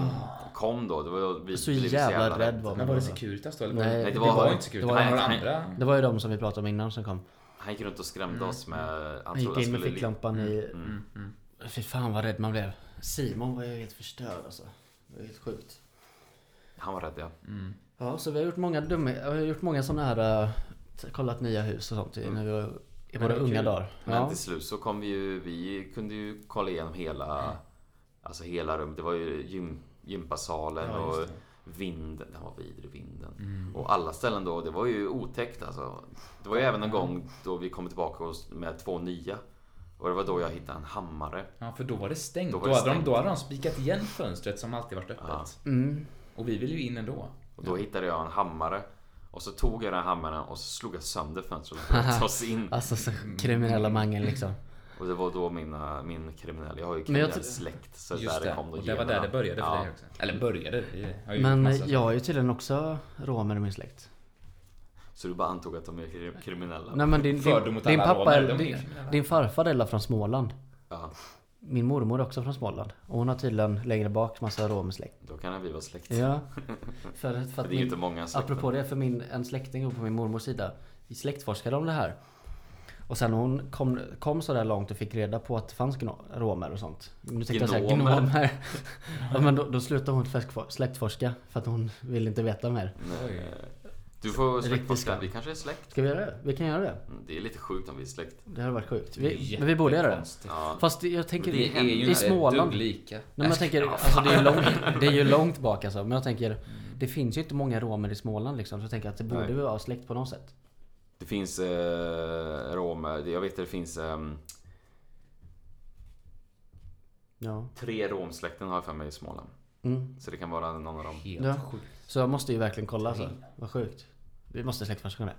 [SPEAKER 1] kom då. Det var då vi
[SPEAKER 2] Så
[SPEAKER 1] blev
[SPEAKER 2] jävla rädd var
[SPEAKER 3] Men
[SPEAKER 2] man.
[SPEAKER 3] var det
[SPEAKER 2] då.
[SPEAKER 3] Securitas då? Eller
[SPEAKER 2] Nej,
[SPEAKER 3] var det,
[SPEAKER 2] det
[SPEAKER 3] det
[SPEAKER 1] var-
[SPEAKER 3] var inte Securitas,
[SPEAKER 1] det
[SPEAKER 3] det
[SPEAKER 1] var-
[SPEAKER 3] var några
[SPEAKER 1] nej.
[SPEAKER 3] andra.
[SPEAKER 2] Det var ju de som vi pratade om innan som kom.
[SPEAKER 1] Han gick runt och skrämde oss med...
[SPEAKER 2] Mm. Han gick
[SPEAKER 1] trodde
[SPEAKER 2] in med
[SPEAKER 1] skulle- Mm.
[SPEAKER 2] ficklampan i... Fy fan vad rädd man blev. Simon var ju helt förstörd alltså. Det var helt sjukt.
[SPEAKER 1] Han var rädd ja.
[SPEAKER 2] Ja, så vi har gjort många dumma, vi har gjort många sådana här, eh, kollat nya hus och sånt i, när vi var, i
[SPEAKER 3] Mm. det
[SPEAKER 2] våra
[SPEAKER 3] var
[SPEAKER 2] unga
[SPEAKER 3] kul.
[SPEAKER 2] dagar.
[SPEAKER 1] Men
[SPEAKER 2] Ja.
[SPEAKER 1] till slut så kom vi ju... Vi kunde ju kolla igenom hela... Alltså hela rummet. Det var ju gym, gympasalen
[SPEAKER 3] Ja, just
[SPEAKER 1] och vinden. Den var vidrig, vinden.
[SPEAKER 2] Mm.
[SPEAKER 1] Och alla ställen då. Det var ju otäckt alltså. Det var ju även en gång då vi kom tillbaka och- med två nya. Och det var då jag hittade en hammare.
[SPEAKER 3] Ja, för då var det stängt. Då,
[SPEAKER 1] Då var det
[SPEAKER 3] hade,
[SPEAKER 1] stängt.
[SPEAKER 3] De, då hade de spikat igen fönstret som alltid varit öppet.
[SPEAKER 1] Ja.
[SPEAKER 2] Mm.
[SPEAKER 3] Och vi ville ju in ändå.
[SPEAKER 1] Och då hittade jag en hammare. Och så tog jag den här hammaren och så slog jag sönder fönstret
[SPEAKER 3] *laughs*
[SPEAKER 1] och bröt oss in.
[SPEAKER 2] Alltså så
[SPEAKER 3] Mm.
[SPEAKER 2] kriminella mangel liksom.
[SPEAKER 1] Och det var då mina, min kriminell, jag har ju
[SPEAKER 2] Men jag
[SPEAKER 1] kriminell
[SPEAKER 2] tror-
[SPEAKER 1] släkt. Så
[SPEAKER 3] Just
[SPEAKER 1] där det
[SPEAKER 3] det.
[SPEAKER 1] kom då
[SPEAKER 3] Och det var där
[SPEAKER 1] generna.
[SPEAKER 3] det började för
[SPEAKER 1] ja.
[SPEAKER 3] dig också. Eller började. Vi har ju
[SPEAKER 2] Men
[SPEAKER 3] massa-
[SPEAKER 2] eh, jag är ju tydligen också romer i min släkt.
[SPEAKER 1] Så du bara antog att de är kri- kriminella?
[SPEAKER 2] Nej men din,
[SPEAKER 3] Fördom
[SPEAKER 2] din,
[SPEAKER 3] mot
[SPEAKER 2] din
[SPEAKER 3] alla romer,
[SPEAKER 2] pappa, är-
[SPEAKER 3] de är
[SPEAKER 2] din,
[SPEAKER 3] kriminella.
[SPEAKER 2] din farfar är alla från Småland.
[SPEAKER 1] Ja,
[SPEAKER 2] Min mormor är också från Småland. Och hon har tydligen längre bak massa romersläkt.
[SPEAKER 1] då kan vi vara släkt.
[SPEAKER 2] Ja.
[SPEAKER 3] *laughs*
[SPEAKER 2] För, för
[SPEAKER 1] För
[SPEAKER 2] att
[SPEAKER 1] det är ju inte
[SPEAKER 2] min,
[SPEAKER 1] många släkter.
[SPEAKER 2] Alltså, apropå det, för min, en släkting på min mormors sida vi släktforskade om det här. Och sen hon kom, kom så där långt och fick reda på att det fanns gno- romer och sånt. Nu tänkte jag säga
[SPEAKER 1] Gnomer.
[SPEAKER 2] gnomer. *laughs* ja, men då, då slutade hon fäskfo- släktforska för att hon ville inte veta mer.
[SPEAKER 3] Oj.
[SPEAKER 1] Du får släktforska,
[SPEAKER 2] släkt.
[SPEAKER 1] vi kanske är släkt?
[SPEAKER 2] Ska vi göra det? Vi kan göra det.
[SPEAKER 1] Mm, Det är lite sjukt om vi är släkt.
[SPEAKER 2] Det hade varit sjukt. Vi, men vi borde göra det.
[SPEAKER 3] Jättekonstigt.
[SPEAKER 1] Ja.
[SPEAKER 2] Fast det- jag tänker...
[SPEAKER 1] Men det
[SPEAKER 2] Det är
[SPEAKER 1] är ju
[SPEAKER 2] I Småland.
[SPEAKER 3] Dugg lika.
[SPEAKER 2] Nej, men jag tänker, alltså, det, är långt, det är ju långt bak alltså. Men jag tänker, det finns ju inte många romer i Småland liksom. Så jag tänker att det borde
[SPEAKER 1] Mm. Nej.
[SPEAKER 2] vara släkt på något sätt.
[SPEAKER 1] Det finns eh, romer, det- jag vet att det finns ehm,
[SPEAKER 2] Ja.
[SPEAKER 1] tre romsläkten har jag för mig i Småland.
[SPEAKER 2] Mm.
[SPEAKER 1] Så det kan vara någon av dem.
[SPEAKER 3] Helt
[SPEAKER 2] Ja.
[SPEAKER 3] sjukt.
[SPEAKER 2] Så jag måste ju verkligen kolla alltså. Vad sjukt. Vi måste släktforska om det.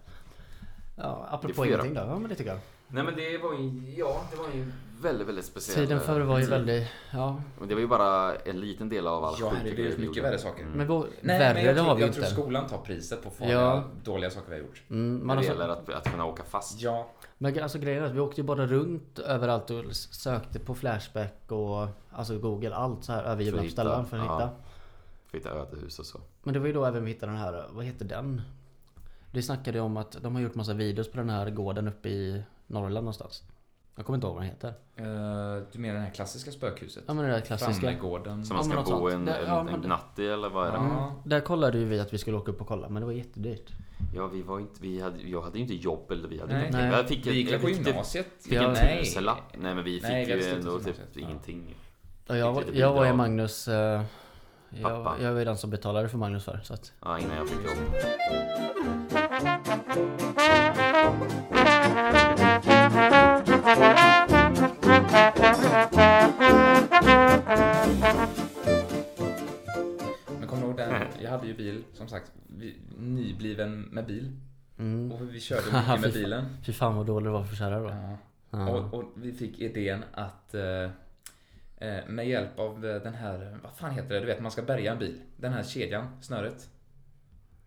[SPEAKER 2] Ja,
[SPEAKER 1] Det
[SPEAKER 2] apropå
[SPEAKER 1] får vi göra.
[SPEAKER 2] ingenting då. Ja, men det tycker jag.
[SPEAKER 1] Nej men det var ju, ja det var ju väldigt, väldigt speciellt.
[SPEAKER 2] Tiden förr var
[SPEAKER 3] Mm.
[SPEAKER 2] ju väldigt... Ja.
[SPEAKER 1] Men det var ju bara en liten del av all
[SPEAKER 3] Ja,
[SPEAKER 1] skit
[SPEAKER 3] herregud, det finns
[SPEAKER 1] vi
[SPEAKER 3] mycket
[SPEAKER 1] gjorde.
[SPEAKER 3] värre saker.
[SPEAKER 2] Men vår,
[SPEAKER 3] Nej, men
[SPEAKER 2] värre
[SPEAKER 3] jag,
[SPEAKER 2] det
[SPEAKER 3] tror,
[SPEAKER 2] har vi ju
[SPEAKER 3] jag tror
[SPEAKER 2] inte.
[SPEAKER 3] skolan tar priset på farliga,
[SPEAKER 2] Ja.
[SPEAKER 3] dåliga saker vi har gjort.
[SPEAKER 2] Mm,
[SPEAKER 1] När
[SPEAKER 2] man
[SPEAKER 1] det
[SPEAKER 2] har
[SPEAKER 1] gäller att, att kunna åka fast.
[SPEAKER 3] Ja,
[SPEAKER 2] Men alltså grejen är att vi åkte ju bara runt överallt och s- sökte på Flashback och alltså Google allt så här övergivna
[SPEAKER 1] För att
[SPEAKER 2] ställen
[SPEAKER 1] hitta,
[SPEAKER 2] för att
[SPEAKER 1] ja.
[SPEAKER 2] hitta.
[SPEAKER 1] För att hitta ödehus och så.
[SPEAKER 2] Men det var ju då även vi hittade den här, vad heter den? Det snackade ju om att de har gjort massa videos på den här gården uppe i Norrland någonstans. Jag kommer inte ihåg vad den heter.
[SPEAKER 3] eh, du menar det här klassiska spökhuset?
[SPEAKER 2] Ja men det där klassiska.
[SPEAKER 3] Framgården.
[SPEAKER 1] Som
[SPEAKER 2] Ja,
[SPEAKER 1] man
[SPEAKER 2] men
[SPEAKER 1] ska
[SPEAKER 2] något
[SPEAKER 1] bo
[SPEAKER 2] sånt.
[SPEAKER 1] en,
[SPEAKER 2] Det-
[SPEAKER 1] en,
[SPEAKER 2] ja, men
[SPEAKER 1] en
[SPEAKER 2] det-
[SPEAKER 1] natt i eller vad är det?
[SPEAKER 3] Ja.
[SPEAKER 2] Mm. Där kollade ju vi att vi skulle åka upp och kolla men det var jättedyrt.
[SPEAKER 1] Ja, vi var ju inte, vi hade, jag hade ju inte jobb eller vi hade
[SPEAKER 3] Nej.
[SPEAKER 1] någonting.
[SPEAKER 2] Nej.
[SPEAKER 1] Jag fick,
[SPEAKER 3] Vi gick
[SPEAKER 1] jag
[SPEAKER 3] på
[SPEAKER 1] fick typ-
[SPEAKER 3] gymnasiet.
[SPEAKER 1] fick en
[SPEAKER 3] Nej.
[SPEAKER 1] tusenlapp. Nej men vi fick
[SPEAKER 3] Nej, vi hade
[SPEAKER 1] ju
[SPEAKER 3] slutat
[SPEAKER 1] ändå typ
[SPEAKER 3] gymnasiet. Ja.
[SPEAKER 1] ingenting.
[SPEAKER 2] Och jag, var-
[SPEAKER 1] lite
[SPEAKER 2] jag var ju
[SPEAKER 1] bidrag.
[SPEAKER 2] Magnus... Eh, jag,
[SPEAKER 1] Pappa.
[SPEAKER 2] jag var ju den som betalade för Magnus för så att...
[SPEAKER 1] Ja, innan jag fick jobb.
[SPEAKER 3] Men kommer du ihåg den? Jag hade ju bil, som sagt. Vi, nybliven med bil.
[SPEAKER 2] Mm.
[SPEAKER 3] Och vi
[SPEAKER 2] *laughs*
[SPEAKER 3] körde mycket med bilen.
[SPEAKER 2] Fy fan vad dålig du var för kärra då.
[SPEAKER 3] Ja.
[SPEAKER 2] Ja.
[SPEAKER 3] Och, och vi fick idén att eh, eh, med hjälp av eh, den här, vad fan heter det? Du vet, man ska bärga en bil. Den här kedjan, snöret.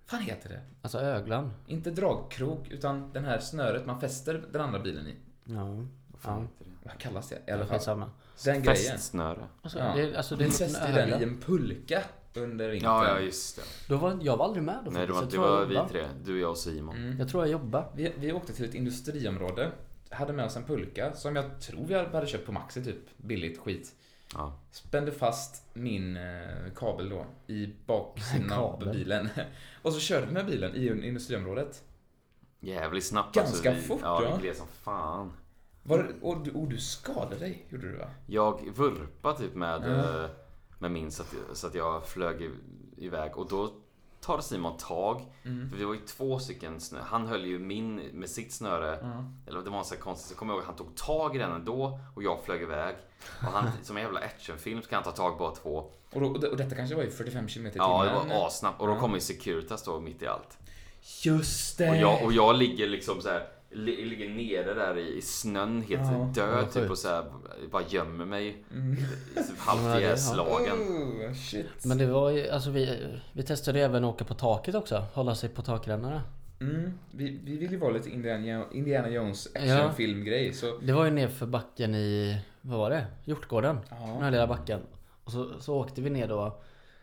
[SPEAKER 3] fan heter det?
[SPEAKER 2] Alltså öglan.
[SPEAKER 3] Inte dragkrok, utan den här snöret man fäster den andra bilen i.
[SPEAKER 2] Ja.
[SPEAKER 1] Vad fan
[SPEAKER 2] ja.
[SPEAKER 1] heter det?
[SPEAKER 3] Vad kallas det? I alla fall.
[SPEAKER 2] Skitsamma.
[SPEAKER 3] Den grejen.
[SPEAKER 1] Fästsnöre.
[SPEAKER 2] Alltså,
[SPEAKER 3] Ja.
[SPEAKER 2] det, alltså, det
[SPEAKER 3] Vi
[SPEAKER 2] är
[SPEAKER 3] fäste
[SPEAKER 2] en
[SPEAKER 3] den i
[SPEAKER 2] ögla.
[SPEAKER 3] en pulka under vintern.
[SPEAKER 1] Ja, ja just det.
[SPEAKER 2] Då var, jag var aldrig med då
[SPEAKER 1] Nej det var,
[SPEAKER 2] faktiskt.
[SPEAKER 1] det
[SPEAKER 2] Jag tror jag
[SPEAKER 1] var vi
[SPEAKER 2] jobbade.
[SPEAKER 1] tre. Du, jag och Simon.
[SPEAKER 3] Mm.
[SPEAKER 2] Jag tror jag jobbade.
[SPEAKER 3] Vi, vi åkte till ett industriområde, hade med oss en pulka som jag tror vi hade köpt på Maxi typ, billigt skit.
[SPEAKER 1] Ja.
[SPEAKER 3] Spände fast min eh, kabel då i
[SPEAKER 1] *laughs*
[SPEAKER 3] baksidan
[SPEAKER 2] Kabel.
[SPEAKER 3] av bilen. *laughs* Och så körde vi med bilen i industriområdet.
[SPEAKER 1] Jävligt snabbt
[SPEAKER 3] Ganska
[SPEAKER 1] alltså. Vi,
[SPEAKER 3] fort,
[SPEAKER 1] ja.
[SPEAKER 3] va?
[SPEAKER 1] vi gled som fan.
[SPEAKER 3] Var, det- och, du, och du skadade dig, gjorde du va?
[SPEAKER 1] Jag vurpade typ med,
[SPEAKER 3] Ja.
[SPEAKER 1] eh, med min så att, så att jag flög i- iväg och då tar Simon tag.
[SPEAKER 3] Mm.
[SPEAKER 1] För vi var ju två stycken snö. Han höll ju min med sitt snöre. Eller det var en sån här konstigt. Så kommer jag ihåg att han tog tag i den ändå och jag flög iväg. Och
[SPEAKER 3] *laughs*
[SPEAKER 1] han, som en jävla actionfilm ska han ta tag bara två.
[SPEAKER 3] Och, då, och, det- och detta kanske var i 45 km i timmen.
[SPEAKER 1] Ja, det var assnabbt. Och då
[SPEAKER 3] Ja.
[SPEAKER 1] kommer ju Securitas då mitt i allt.
[SPEAKER 3] Just det!
[SPEAKER 1] Och jag, och jag ligger liksom så här. li- Ligger nere där i, i snön helt
[SPEAKER 3] Ja.
[SPEAKER 1] död
[SPEAKER 2] Ja,
[SPEAKER 1] typ
[SPEAKER 2] sjukt.
[SPEAKER 1] och så här, bara gömmer mig.
[SPEAKER 3] Mm.
[SPEAKER 2] Ja, det-
[SPEAKER 1] Halvt
[SPEAKER 2] ja.
[SPEAKER 1] ihjälslagen.
[SPEAKER 3] Oh, shit.
[SPEAKER 2] Men det var ju, alltså vi, vi testade ju även att åka på taket också. Hålla sig på takrännorna.
[SPEAKER 3] Mm. Vi, vi vill ju vara lite Indiana, Indiana Jones actionfilmgrej så...
[SPEAKER 2] Det var ju ner för backen i, vad var det? Hjortgården. Den här
[SPEAKER 3] Ja.
[SPEAKER 2] lilla backen. Och så, så åkte vi ner då.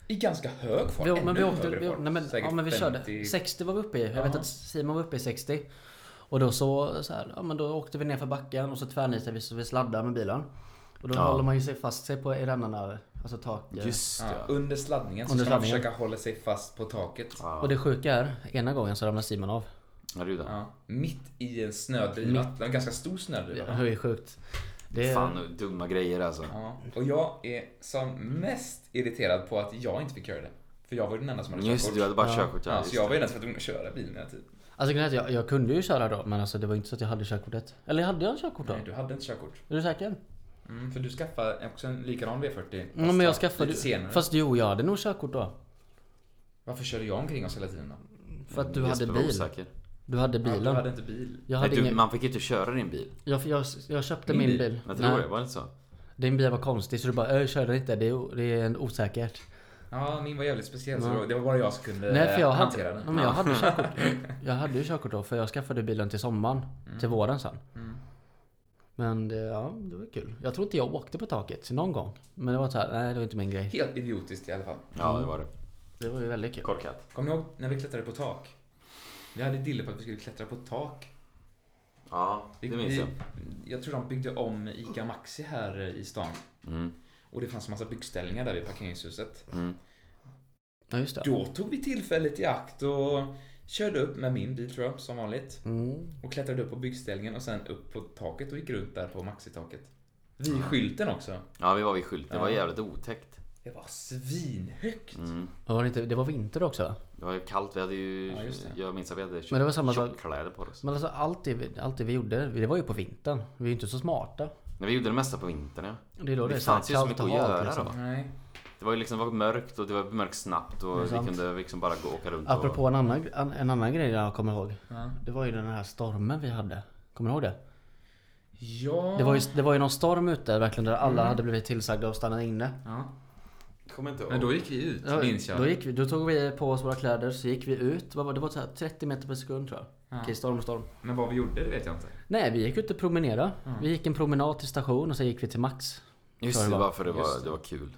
[SPEAKER 3] I ganska hög fart.
[SPEAKER 2] Vi, men
[SPEAKER 3] ännu
[SPEAKER 2] vi åkte,
[SPEAKER 3] högre
[SPEAKER 2] vi,
[SPEAKER 3] fart.
[SPEAKER 2] nej men,
[SPEAKER 3] Säkert
[SPEAKER 2] ja, men vi
[SPEAKER 3] 50.
[SPEAKER 2] körde. 60 var vi uppe i. Jag vet
[SPEAKER 3] Ja.
[SPEAKER 2] att Simon var uppe i 60. Och då så, så här, ja men då åkte vi ner för backen och så tvärnitade vi så vi sladdade med bilen. Och då
[SPEAKER 1] Ja.
[SPEAKER 2] håller man ju sig fast sig på i rannarna, alltså taket.
[SPEAKER 1] Just det.
[SPEAKER 3] Ja, under sladdningen så
[SPEAKER 2] Under
[SPEAKER 3] ska
[SPEAKER 2] sladdningen.
[SPEAKER 3] man försöka hålla sig fast på taket. Ja.
[SPEAKER 1] Ja.
[SPEAKER 2] Och det sjuka är, ena gången så ramlade Simon av.
[SPEAKER 1] Ja, du då.
[SPEAKER 3] Mitt i en snödriva. En ganska stor snödriva.
[SPEAKER 2] Det är ju sjukt. Det,
[SPEAKER 1] Fan, dumma grejer alltså.
[SPEAKER 3] Ja, och jag är som mest irriterad på att jag inte fick göra det. För jag var ju den enda som hade
[SPEAKER 1] Just det, du hade bara
[SPEAKER 2] Ja.
[SPEAKER 1] körkort.
[SPEAKER 3] Ja,
[SPEAKER 1] Ja,
[SPEAKER 3] så
[SPEAKER 1] just
[SPEAKER 3] jag var
[SPEAKER 1] det.
[SPEAKER 3] ju den som var tvungen att köra bilen hela tiden.
[SPEAKER 2] Alltså grejen är att jag, jag kunde ju köra då men alltså det var inte så att jag hade körkortet. Eller hade jag körkort då?
[SPEAKER 3] Nej, du hade inte körkort.
[SPEAKER 2] Är du säker?
[SPEAKER 3] Mm, för du skaffade också en likadan V40. fast
[SPEAKER 2] Ja, men jag
[SPEAKER 3] lite
[SPEAKER 2] skaffade
[SPEAKER 3] senare.
[SPEAKER 2] Fast jo, jag hade nog körkort då.
[SPEAKER 3] Varför körde jag omkring oss hela tiden då?
[SPEAKER 2] För att du
[SPEAKER 1] Jesper
[SPEAKER 2] hade
[SPEAKER 1] var
[SPEAKER 2] bil.
[SPEAKER 1] Osäker.
[SPEAKER 2] Du hade
[SPEAKER 3] Ja, du
[SPEAKER 2] bilen.
[SPEAKER 3] hade inte bil.
[SPEAKER 2] Jag,
[SPEAKER 1] Nej,
[SPEAKER 2] hade
[SPEAKER 1] du,
[SPEAKER 2] ingen,
[SPEAKER 1] man fick ju inte köra din bil.
[SPEAKER 2] jag, jag, jag köpte
[SPEAKER 3] Min
[SPEAKER 2] min
[SPEAKER 3] bil.
[SPEAKER 2] bil.
[SPEAKER 1] Jag tror det,
[SPEAKER 2] Nej,
[SPEAKER 1] var det inte så?
[SPEAKER 2] din bil var konstig så du bara "Ö, kör den inte. Det är, det är en osäkert.
[SPEAKER 3] Ja, min var jävligt speciell så
[SPEAKER 2] Ja.
[SPEAKER 3] det var- det var bara jag som kunde
[SPEAKER 1] Eh,
[SPEAKER 2] Nej för jag hade,
[SPEAKER 3] hantera
[SPEAKER 2] ja,
[SPEAKER 3] den.
[SPEAKER 2] men jag hade körkort.
[SPEAKER 1] *laughs*
[SPEAKER 2] Jag hade ju körkort då för jag skaffade bilen till sommaren. Till våren sen.
[SPEAKER 3] Mm.
[SPEAKER 2] Men det, ja, det var kul. Jag tror inte jag åkte på taket någon gång. Men det var så här, nej det var inte min grej.
[SPEAKER 3] Helt idiotiskt i alla fall.
[SPEAKER 1] Ja, det var det.
[SPEAKER 2] Det var ju väldigt kul.
[SPEAKER 1] Korkat.
[SPEAKER 3] Kommer ni ihåg när vi klättrade på tak? Vi hade dille på att vi skulle klättra på tak.
[SPEAKER 1] Ja, det
[SPEAKER 3] Vi,
[SPEAKER 1] minns jag.
[SPEAKER 3] vi, jag tror de byggde om ICA Maxi här i stan.
[SPEAKER 1] Mm,
[SPEAKER 3] Och det fanns en massa byggställningar där vid parkeringshuset.
[SPEAKER 1] mm.
[SPEAKER 2] Ja just det.
[SPEAKER 3] Då tog vi tillfället i akt och körde upp med min bil tror jag, som vanligt.
[SPEAKER 2] Mm.
[SPEAKER 3] Och klättrade upp på byggställningen och sen upp på taket och gick runt där på maxitaket. Vid skylten också.
[SPEAKER 1] Ja, vi var vid skylt. Det var
[SPEAKER 3] Ja.
[SPEAKER 1] jävligt otäckt.
[SPEAKER 3] Det var svinhögt.
[SPEAKER 1] Mm.
[SPEAKER 2] Ja, Var det, inte, det var vinter också.
[SPEAKER 1] Det var ju kallt. Vi hade ju...
[SPEAKER 3] Ja, just det.
[SPEAKER 1] jag minns att vi hade
[SPEAKER 2] Men det var samma sak-
[SPEAKER 1] tjockkläder på oss.
[SPEAKER 2] Men alltså allt det, vi- allt det vi gjorde, det var ju på vintern. Vi är ju inte så smarta.
[SPEAKER 1] Nej, vi gjorde det mesta på vintern ja.
[SPEAKER 2] Det är då det,
[SPEAKER 1] Det
[SPEAKER 2] är så här
[SPEAKER 1] fanns ju så
[SPEAKER 2] kallt
[SPEAKER 1] mycket
[SPEAKER 2] och
[SPEAKER 1] att
[SPEAKER 2] halt,
[SPEAKER 1] göra
[SPEAKER 2] liksom.
[SPEAKER 1] då.
[SPEAKER 3] Nej.
[SPEAKER 1] Det var ju liksom det var mörkt och det var mörkt snabbt
[SPEAKER 2] Det är
[SPEAKER 1] och vi
[SPEAKER 2] sant.
[SPEAKER 1] kunde liksom bara gå och åka runt
[SPEAKER 2] Apropå en annan, an- en annan grej jag kommer ihåg.
[SPEAKER 3] Ja.
[SPEAKER 2] Det var ju den här stormen vi hade. Kommer du ihåg det?
[SPEAKER 3] ja.
[SPEAKER 2] Det var ju, det var ju någon storm ute verkligen där
[SPEAKER 3] Mm.
[SPEAKER 2] alla hade blivit tillsagda att stanna inne.
[SPEAKER 3] Ja.
[SPEAKER 1] och... Kommer inte ihåg.
[SPEAKER 3] Men då gick vi ut, minns jag.
[SPEAKER 2] då, gick vi, då tog vi på oss våra kläder, så gick vi ut. Vad var, det var så här 30 meter per sekund tror jag.
[SPEAKER 3] Ja.
[SPEAKER 2] Okej, storm, storm.
[SPEAKER 3] Men vad vi gjorde, det vet jag inte.
[SPEAKER 2] Nej, vi gick ut och promenerade. Vi gick en promenad till station och sen gick vi till Max.
[SPEAKER 1] Just
[SPEAKER 2] Så
[SPEAKER 1] det,
[SPEAKER 2] det var-
[SPEAKER 1] varför det
[SPEAKER 3] just
[SPEAKER 1] var,
[SPEAKER 3] det.
[SPEAKER 1] det var kul.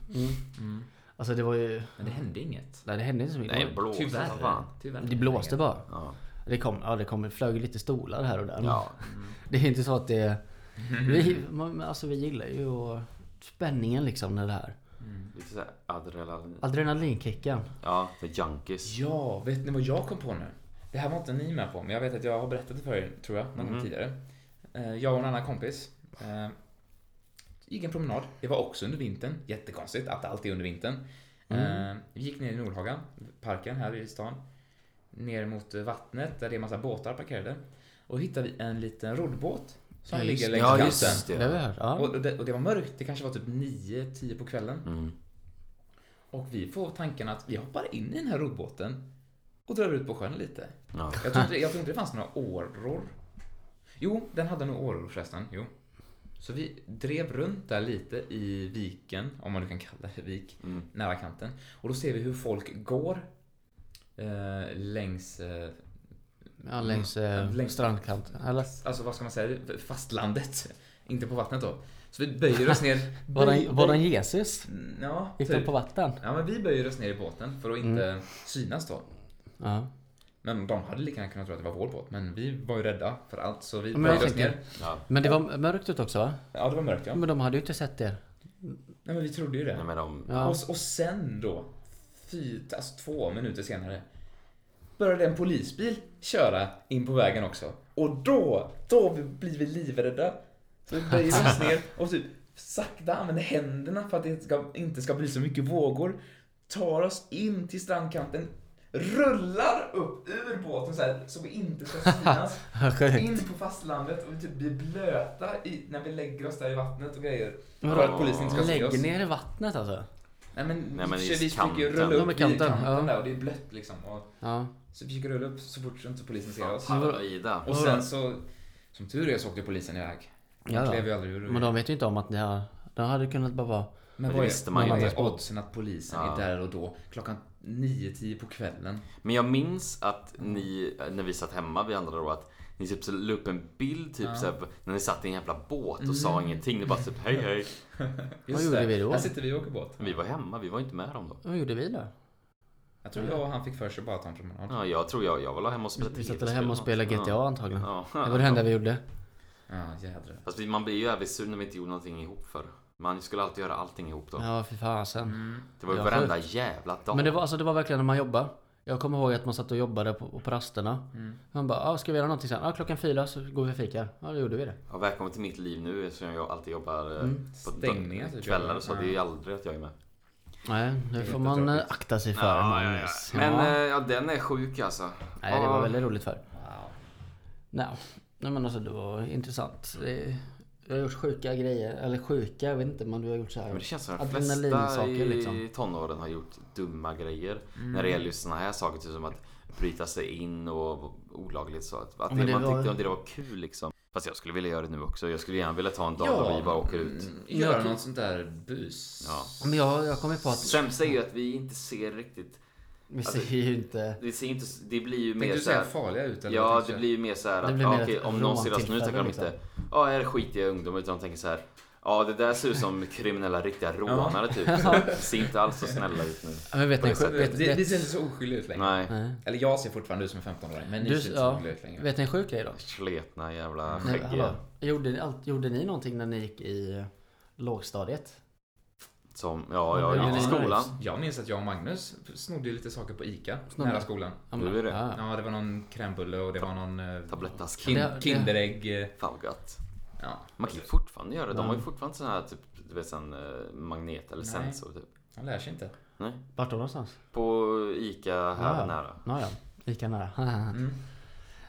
[SPEAKER 3] Mm.
[SPEAKER 2] Alltså det var ju...
[SPEAKER 3] Men det hände inget.
[SPEAKER 2] Nej, det hände inte så mycket.
[SPEAKER 1] Nej, blåste som fan.
[SPEAKER 3] Tyvärr.
[SPEAKER 2] det blåste bara.
[SPEAKER 1] Ja.
[SPEAKER 2] Det kom, ja, det kom, flög lite stolar här och där. men
[SPEAKER 1] Ja.
[SPEAKER 2] Det är inte så att det...
[SPEAKER 3] *laughs*
[SPEAKER 2] Vi, men alltså, vi gillar ju spänningen liksom när det här.
[SPEAKER 1] Lite såhär adrenalin.
[SPEAKER 2] Adrenalinkicken.
[SPEAKER 1] Ja, the junkies.
[SPEAKER 3] Ja, vet ni vad jag kom på nu? Det här var inte ni med på, men jag vet att jag har berättat det för er, tror jag, någon
[SPEAKER 2] Mhm.
[SPEAKER 3] gång tidigare. Eh, Jag och en annan kompis eh, gick en promenad. Det var också under vintern. Jättekonstigt att det alltid är under vintern.
[SPEAKER 2] Mhm.
[SPEAKER 3] Eh, Vi gick ner i Nordhaga, parken här i stan. Ner mot eh, vattnet där det är massa båtar parkerade. Och hittade vi en liten roddbåt som
[SPEAKER 2] Ja, just
[SPEAKER 3] ligger
[SPEAKER 2] det.
[SPEAKER 3] längs
[SPEAKER 1] Ja,
[SPEAKER 3] kanten.
[SPEAKER 1] just det.
[SPEAKER 2] Det har vi hört. Ja.
[SPEAKER 3] Och, och, det, och det var mörkt, det kanske var typ 9-10 på kvällen.
[SPEAKER 1] Mm,
[SPEAKER 3] Och vi får tanken att vi hoppar in i den här roddbåten och drar ut på sjön lite.
[SPEAKER 1] Ja.
[SPEAKER 3] Jag tror inte, jag tror inte det fanns några åror. Jo, den hade nog åror förresten. Jo. Så vi drev runt där lite i viken, om man nu kan kalla det vik,
[SPEAKER 1] Mm,
[SPEAKER 3] nära kanten. Och då ser vi hur folk går eh, längs, eh,
[SPEAKER 2] Ja, längs, eh,
[SPEAKER 3] Mm. Längs-
[SPEAKER 2] strandkanten. Eller?
[SPEAKER 3] alltså vad ska man säga, fastlandet. Inte på vattnet då. Så vi böjer oss ner.
[SPEAKER 2] *laughs* Var
[SPEAKER 3] Böj-
[SPEAKER 2] den, var den Jesus?
[SPEAKER 3] Ja,
[SPEAKER 2] Gick
[SPEAKER 3] typ.
[SPEAKER 2] den på Mm. vatten?
[SPEAKER 3] Ja, men vi böjer oss ner i båten för att inte synas då.
[SPEAKER 2] Ja.
[SPEAKER 3] Men de hade lika gärna kunnat tro att det var vår båt, men vi var ju rädda för allt så vi
[SPEAKER 2] Men jag
[SPEAKER 3] böjde oss
[SPEAKER 2] tänker-
[SPEAKER 3] ner.
[SPEAKER 1] ja.
[SPEAKER 2] Men det var mörkt ute också va?
[SPEAKER 3] Ja, det var mörkt ja.
[SPEAKER 2] Men de hade ju inte sett er.
[SPEAKER 3] Nej, men vi trodde ju det.
[SPEAKER 1] Nej, men de...
[SPEAKER 2] Ja.
[SPEAKER 3] Och, och sen då, fy, alltså två minuter senare, började en polisbil köra in på vägen också. Och då, då blir vi livrädda. Så vi böjer
[SPEAKER 2] *laughs*
[SPEAKER 3] oss ner och typ sakta använder händerna för att det inte ska, inte ska bli så mycket vågor. Tar oss in till strandkanten, rullar upp ur båten så här så vi inte ska synas.
[SPEAKER 2] *laughs*
[SPEAKER 3] in på fastlandet och vi typ blir blöta i, när vi lägger oss där i vattnet och grejer. För att polisen inte ska se oss.
[SPEAKER 2] Lägg ner i vattnet alltså?
[SPEAKER 3] Nej men,
[SPEAKER 1] Nej, men
[SPEAKER 3] vi,
[SPEAKER 1] i
[SPEAKER 3] försöker- vi
[SPEAKER 1] kanten.
[SPEAKER 3] försöker ju rulla
[SPEAKER 1] Ja,
[SPEAKER 3] upp
[SPEAKER 2] men
[SPEAKER 3] vid kanten,
[SPEAKER 2] kanten, ja.
[SPEAKER 3] där och det är blött liksom. Och
[SPEAKER 2] Ja.
[SPEAKER 3] så vi försöker rulla upp så fort inte polisen ser oss.
[SPEAKER 1] Hallå Ida.
[SPEAKER 3] Och sen så, som tur är så åkte polisen iväg. De
[SPEAKER 2] Ja, ja.
[SPEAKER 3] klev ju aldrig ur.
[SPEAKER 2] Men de vet ju inte om att ni har... De hade kunnat bara vara...
[SPEAKER 3] men
[SPEAKER 1] det
[SPEAKER 3] vad är,
[SPEAKER 1] visste man ju
[SPEAKER 3] vad
[SPEAKER 1] inte.
[SPEAKER 3] är oddsen att polisen
[SPEAKER 1] Ja.
[SPEAKER 3] är där och då klockan 9-10 på kvällen?
[SPEAKER 1] Men jag minns att ni, när vi satt hemma vi andra då, att ni typ så la upp en bild typ så här, när ni satt i en jävla båt och sa ingenting. Ni bara typ hej hej.
[SPEAKER 3] Just
[SPEAKER 2] gjorde
[SPEAKER 3] det.
[SPEAKER 2] vi då?
[SPEAKER 3] Här sitter vi och åker båt.
[SPEAKER 1] Men vi var hemma, vi var inte med dem då.
[SPEAKER 2] Vad gjorde vi då?
[SPEAKER 3] Jag tror jag och han fick för sig bara att ta en promenad.
[SPEAKER 1] Ja, jag tror jag, jag var hemma och spelade
[SPEAKER 2] Vi satt
[SPEAKER 1] tv-spel
[SPEAKER 2] väl hemma och spelade
[SPEAKER 1] något.
[SPEAKER 2] GTA antagligen.
[SPEAKER 1] Ja.
[SPEAKER 2] Det *laughs*
[SPEAKER 1] Ja.
[SPEAKER 2] var det enda vi gjorde.
[SPEAKER 3] Ja, jädrar.
[SPEAKER 1] Fast vi- man blir ju jävligt sur när vi inte gjorde någonting ihop för Man skulle alltid göra allting ihop då.
[SPEAKER 2] Ja, fy fasen.
[SPEAKER 3] Mm.
[SPEAKER 1] Det var ju
[SPEAKER 2] Ja,
[SPEAKER 1] varenda jävla dag.
[SPEAKER 2] Men det var, alltså, det var verkligen när man jobbade. Jag kommer ihåg att man satt och jobbade på, på rasterna.
[SPEAKER 3] Mm.
[SPEAKER 2] Man bara, ah, ska vi göra någonting sen? Ja, ah, klockan fyra så går vi och fikar. Ja, då gjorde vi det.
[SPEAKER 1] Ja, välkommen till mitt liv nu eftersom jag alltid jobbar eh,
[SPEAKER 2] Mm.
[SPEAKER 1] på
[SPEAKER 3] Stängningar, typ,
[SPEAKER 1] kvällar
[SPEAKER 3] ja.
[SPEAKER 1] och så. Det är ju aldrig att jag är med.
[SPEAKER 2] Nej, det får man eh, akta sig för. Magnus.
[SPEAKER 1] Men
[SPEAKER 2] Ja.
[SPEAKER 1] eh, ja, den är sjuk alltså.
[SPEAKER 2] Nej, det var
[SPEAKER 1] Ja.
[SPEAKER 2] väldigt roligt för.
[SPEAKER 3] Wow.
[SPEAKER 2] Nej, nej men alltså det var intressant. Det, jag har gjort sjuka grejer, eller sjuka, jag vet inte men du har gjort så här.
[SPEAKER 1] Men det känns som att de flesta
[SPEAKER 2] Adrenalinsaker
[SPEAKER 1] i
[SPEAKER 2] liksom. Mm.
[SPEAKER 1] tonåren har gjort dumma grejer. När det gäller just såna här saker, typ som att bryta sig in och olagligt så. Att, att
[SPEAKER 2] men
[SPEAKER 1] det,
[SPEAKER 2] det
[SPEAKER 1] man
[SPEAKER 2] var-
[SPEAKER 1] tyckte om det var kul liksom. Fast jag skulle vilja göra det nu också. Jag skulle gärna vilja ta en dag
[SPEAKER 3] Ja.
[SPEAKER 1] då vi bara åker ut.
[SPEAKER 3] Mm, Göra
[SPEAKER 2] Jag-
[SPEAKER 3] något sånt där bus.
[SPEAKER 1] Ja.
[SPEAKER 2] Men jag, jag kommer på att
[SPEAKER 1] Sämsta är ju att vi inte ser riktigt.
[SPEAKER 2] vi
[SPEAKER 1] Alltså-
[SPEAKER 2] ser ju inte...
[SPEAKER 1] Vi ser inte, det blir ju mer
[SPEAKER 3] Tänkte du
[SPEAKER 1] så här-
[SPEAKER 3] säga farliga ut? Eller
[SPEAKER 1] Ja,
[SPEAKER 3] tänkte
[SPEAKER 1] det
[SPEAKER 3] du-
[SPEAKER 1] blir ju mer så här
[SPEAKER 2] Det
[SPEAKER 1] att
[SPEAKER 2] blir
[SPEAKER 1] ja,
[SPEAKER 2] mer
[SPEAKER 1] okej,
[SPEAKER 2] ett
[SPEAKER 1] om någon ser oss nu tänker de
[SPEAKER 2] råntillfälle,
[SPEAKER 1] inte Ja, är det skitiga ungdomar? Utan de tänker så här Ja, det där ser ut som kriminella riktiga rånare typ. Så, ser inte alls så snälla ut nu.
[SPEAKER 2] Ja, Men vet ni,
[SPEAKER 1] På
[SPEAKER 2] sjuk,
[SPEAKER 1] det
[SPEAKER 2] vet,
[SPEAKER 3] Vi, vi
[SPEAKER 2] vet,
[SPEAKER 3] ser inte så oskyldiga ut längre.
[SPEAKER 1] Nej,
[SPEAKER 2] nej.
[SPEAKER 3] Eller jag ser fortfarande ut som en 15-åring, men ni
[SPEAKER 2] Du,
[SPEAKER 3] ser inte så
[SPEAKER 2] ja,
[SPEAKER 3] oskyldiga ut längre.
[SPEAKER 2] vet ni en sjuk grej då?
[SPEAKER 1] sletna jävla
[SPEAKER 2] Nej, hallå.
[SPEAKER 1] skäggiga.
[SPEAKER 2] Gjorde, ni allt, gjorde ni någonting när ni gick i eh, lågstadiet?
[SPEAKER 1] Som, ja, jag
[SPEAKER 2] Ja,
[SPEAKER 1] gick i
[SPEAKER 2] det är
[SPEAKER 1] skolan.
[SPEAKER 3] Jag minns att jag och Magnus snodde ju lite saker på ICA
[SPEAKER 2] Snodde?
[SPEAKER 3] nära skolan.
[SPEAKER 2] Ja,
[SPEAKER 1] Du är det.
[SPEAKER 2] Ja.
[SPEAKER 3] Ja, det var någon krämbulle och det var någon eh,
[SPEAKER 1] Tablettask.
[SPEAKER 3] kin-
[SPEAKER 2] Det- det-
[SPEAKER 3] Kinderägg. eh,
[SPEAKER 1] Fan vad gött.
[SPEAKER 3] Ja.
[SPEAKER 1] Man kan ju fortfarande göra det. De
[SPEAKER 2] Ja.
[SPEAKER 1] har ju fortfarande sån här typ, du vet sån eh, magnet eller
[SPEAKER 3] Nej.
[SPEAKER 1] sensor typ.
[SPEAKER 3] Man lär sig inte.
[SPEAKER 1] Nej.
[SPEAKER 2] Vart då någonstans?
[SPEAKER 1] På ICA här
[SPEAKER 2] Ja.
[SPEAKER 1] nära. Mm.
[SPEAKER 2] Nåja, lika nära. *laughs*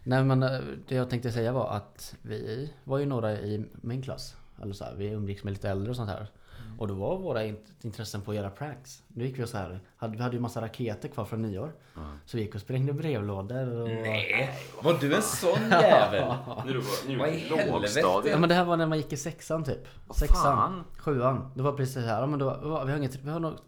[SPEAKER 2] Nej men eh, det jag tänkte säga var att vi var ju några i min klass. Eller så här, vi umgicks med lite äldre och sånt här.
[SPEAKER 1] Mm.
[SPEAKER 2] Och då var våra int- intressen på att göra pranks. Då gick vi och så här. Hade, vi hade ju massa raketer kvar från nyår. Så vi gick och sprängde brevlådor och...
[SPEAKER 3] Nej, var du en sån
[SPEAKER 2] *laughs*
[SPEAKER 3] jävel?
[SPEAKER 1] Nu är det nu
[SPEAKER 3] Vad
[SPEAKER 1] är
[SPEAKER 3] i
[SPEAKER 1] det lågstadiet.
[SPEAKER 2] Ja men det här var när man gick i sexan typ. Sexan,
[SPEAKER 1] fan.
[SPEAKER 2] sjuan. Det var precis så här. Ja, men då, var- vi, har inget, vi har något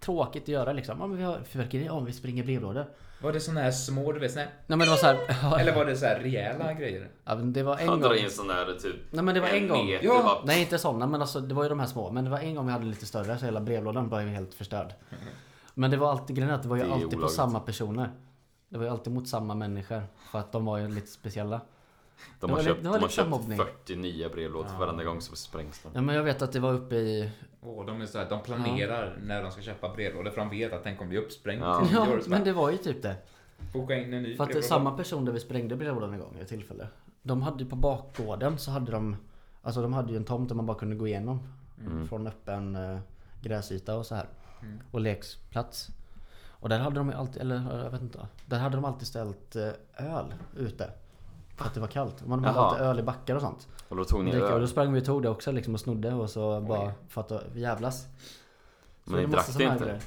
[SPEAKER 2] tråkigt att göra liksom. Ja, men vi har fyrverkeri. Ja, men vi springer brevlådor.
[SPEAKER 3] Var det såna här små, du vet, såna här,
[SPEAKER 2] Nej men det var så här. *laughs*
[SPEAKER 3] Eller var det så här rejäla grejer?
[SPEAKER 2] Ja, men det var en
[SPEAKER 1] Han
[SPEAKER 2] gång.
[SPEAKER 1] drar in sån där typ...
[SPEAKER 2] Nej men det var en gång.
[SPEAKER 1] meter,
[SPEAKER 3] Ja.
[SPEAKER 1] bara-
[SPEAKER 2] Nej inte sådana men alltså det var ju de här små. Men det var en gång vi hade lite större så hela brevlådan var ju helt förstörd. Men det var alltid, grejen är att det var ju
[SPEAKER 1] Det är
[SPEAKER 2] alltid på
[SPEAKER 1] olagligt.
[SPEAKER 2] samma personer. Det var ju alltid mot samma människor. För att de var ju lite speciella.
[SPEAKER 1] De
[SPEAKER 2] Det
[SPEAKER 1] har
[SPEAKER 2] var
[SPEAKER 1] köpt,
[SPEAKER 2] lite- det
[SPEAKER 1] de
[SPEAKER 2] var
[SPEAKER 1] har
[SPEAKER 2] lite
[SPEAKER 1] köpt
[SPEAKER 2] mobbning.
[SPEAKER 1] 40 nya brevlådor för varenda gång som sprängs de.
[SPEAKER 2] Ja men jag vet att det var uppe i...
[SPEAKER 3] Åh, de är så här, de planerar när de ska köpa brevlådor för de vet att den kommer bli uppsprängd
[SPEAKER 1] Ja.
[SPEAKER 3] till
[SPEAKER 2] Ja
[SPEAKER 3] nyår. Så
[SPEAKER 2] men
[SPEAKER 3] bara,
[SPEAKER 2] det var ju typ det.
[SPEAKER 3] Boka in en ny
[SPEAKER 2] För att det är
[SPEAKER 3] brevlåda.
[SPEAKER 2] samma person där vi sprängde brevlådan en gång i ett tillfälle. De hade ju på bakgården så hade de Alltså de hade ju en tomt där man bara kunde gå igenom.
[SPEAKER 1] Mm.
[SPEAKER 2] Från öppen eh, gräsyta och så här. Och leksplats. Och där hade de ju alltid, eller jag vet inte. Där hade de alltid ställt eh, öl ute. För att det var kallt. Man hade
[SPEAKER 1] Jaha.
[SPEAKER 2] alltid öl i backar och sånt.
[SPEAKER 1] Och då tog ni
[SPEAKER 2] Dricka. Och då
[SPEAKER 1] öl.
[SPEAKER 2] sprang vi och tog det också liksom och snodde och så bara för att vi jävlas. Så
[SPEAKER 1] Men ni
[SPEAKER 2] det är
[SPEAKER 1] drack det
[SPEAKER 2] massa såna här
[SPEAKER 1] inte?
[SPEAKER 2] grejer.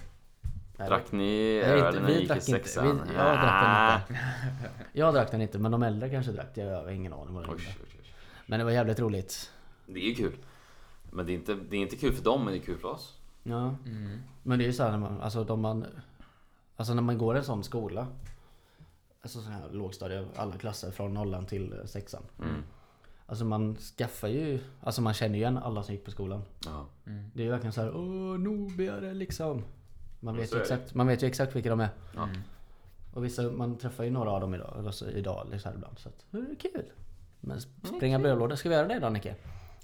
[SPEAKER 2] Nej,
[SPEAKER 1] Drack ni
[SPEAKER 2] Nej,
[SPEAKER 1] öl
[SPEAKER 2] inte-
[SPEAKER 1] när
[SPEAKER 2] vi
[SPEAKER 1] ni gick i
[SPEAKER 2] drack inte.
[SPEAKER 1] sexan? Ah.
[SPEAKER 2] Vi- jag drack den inte. Jag drack den inte men de äldre kanske drack det. Jag har ingen aning vad det
[SPEAKER 1] Oj,
[SPEAKER 2] var.
[SPEAKER 1] oj, oj.
[SPEAKER 2] Men det var jävligt roligt.
[SPEAKER 1] Det är ju kul. Men det är, inte, det är inte kul för dem, men det är kul för oss.
[SPEAKER 2] Ja.
[SPEAKER 1] Mm.
[SPEAKER 2] Men det är ju såhär när man, alltså de man Alltså när man går i en sån skola Alltså sån här lågstadie, alla klasser från nollan till eh, sexan
[SPEAKER 1] Mm.
[SPEAKER 2] Alltså man skaffar ju, alltså man känner ju igen alla som gick på skolan
[SPEAKER 1] Ja.
[SPEAKER 2] Det är ju verkligen såhär, åh nobiare liksom Man
[SPEAKER 1] Ja,
[SPEAKER 2] vet,
[SPEAKER 1] så
[SPEAKER 2] ju
[SPEAKER 1] är det.
[SPEAKER 2] exakt, man vet ju exakt vilka de är
[SPEAKER 1] Ja.
[SPEAKER 2] Och vissa, man träffar ju några av dem idag, eller så idag liksom ibland så att, det är kul Men sp- spränga brevlådor, ska vi göra det idag Nicke?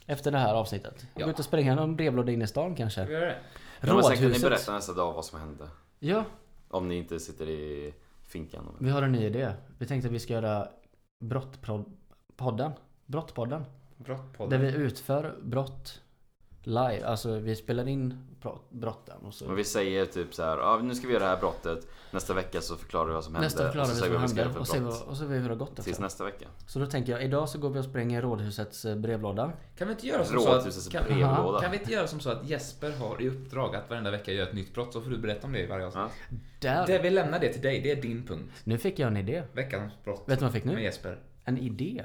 [SPEAKER 2] Efter det här avsnittet?
[SPEAKER 3] Ja.
[SPEAKER 2] Gå ut och spränga någon brevlåda inne i stan kanske?
[SPEAKER 3] Ska vi göra det?
[SPEAKER 1] Ja, men sen kan ni
[SPEAKER 2] Rådhuset.
[SPEAKER 1] berätta nästa dag vad som hände.
[SPEAKER 2] Ja,
[SPEAKER 1] Om ni inte sitter i finkan.
[SPEAKER 2] vi har en ny idé. Vi tänkte att vi ska göra Brottpodden. Brottpodden. Där
[SPEAKER 3] Brottpodden.
[SPEAKER 2] vi utför brott live. Alltså vi spelar in pro- brotten och så.
[SPEAKER 1] Men vi säger typ så här, ah, nu ska vi göra det här brottet. Nästa vecka så förklarar vi vad som hände.
[SPEAKER 2] Nästa förklarar vi
[SPEAKER 1] eh, och så säger
[SPEAKER 2] vad
[SPEAKER 1] vi vad vi
[SPEAKER 2] som hände och,
[SPEAKER 1] ska
[SPEAKER 2] ser
[SPEAKER 1] göra för
[SPEAKER 2] vad-
[SPEAKER 1] brott.
[SPEAKER 2] och så vi hur det har gått
[SPEAKER 1] Tills
[SPEAKER 2] efter.
[SPEAKER 1] nästa vecka.
[SPEAKER 2] Så då tänker jag, idag så går vi och spränger Rådhusets eh, brevlåda.
[SPEAKER 3] Kan vi inte göra som så
[SPEAKER 1] Rådhusets
[SPEAKER 3] att... Kan,
[SPEAKER 1] brevlåda.
[SPEAKER 3] kan vi inte göra som så att Jesper har i uppdrag att varenda vecka göra ett nytt brott så får du berätta om det i varje avsnitt.
[SPEAKER 1] Ja.
[SPEAKER 2] Där!
[SPEAKER 3] Det, vi lämnar det till dig, det är din punkt.
[SPEAKER 2] Nu fick jag en idé.
[SPEAKER 3] Veckans brott.
[SPEAKER 2] Vet du vad jag fick nu?
[SPEAKER 3] Med Jesper.
[SPEAKER 2] En idé.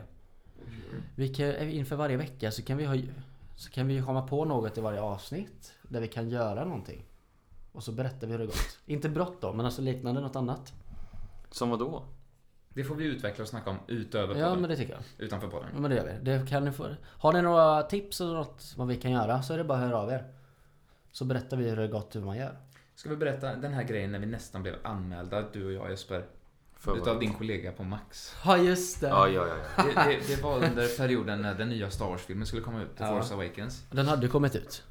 [SPEAKER 2] Vi kan, eh, inför varje vecka så kan vi ha så kan vi komma på något i varje avsnitt där vi kan göra någonting. Och så berättar vi hur det gått. Inte brott då, men alltså liknande något annat.
[SPEAKER 1] Som vad då?
[SPEAKER 3] Det får vi utveckla och snacka om utöver
[SPEAKER 2] Ja,
[SPEAKER 3] podden.
[SPEAKER 2] men det tycker jag.
[SPEAKER 3] Utanför podden.
[SPEAKER 2] Ja, men det gör vi. Det kan ni få. Har ni några tips eller något vad vi kan göra så är det bara att höra av er. Så berättar vi hur det gått hur man gör.
[SPEAKER 3] Ska vi berätta den här grejen när vi nästan blev anmälda, du och jag Jesper?
[SPEAKER 1] För vad?
[SPEAKER 3] Utav din kollega på Max.
[SPEAKER 2] Ja just det.
[SPEAKER 1] Ja, ja, ja. ja.
[SPEAKER 3] Det, det, *laughs* det var under perioden när den nya Star Wars-filmen skulle komma ut, The Force Awakens.
[SPEAKER 2] Den hade ju kommit ut.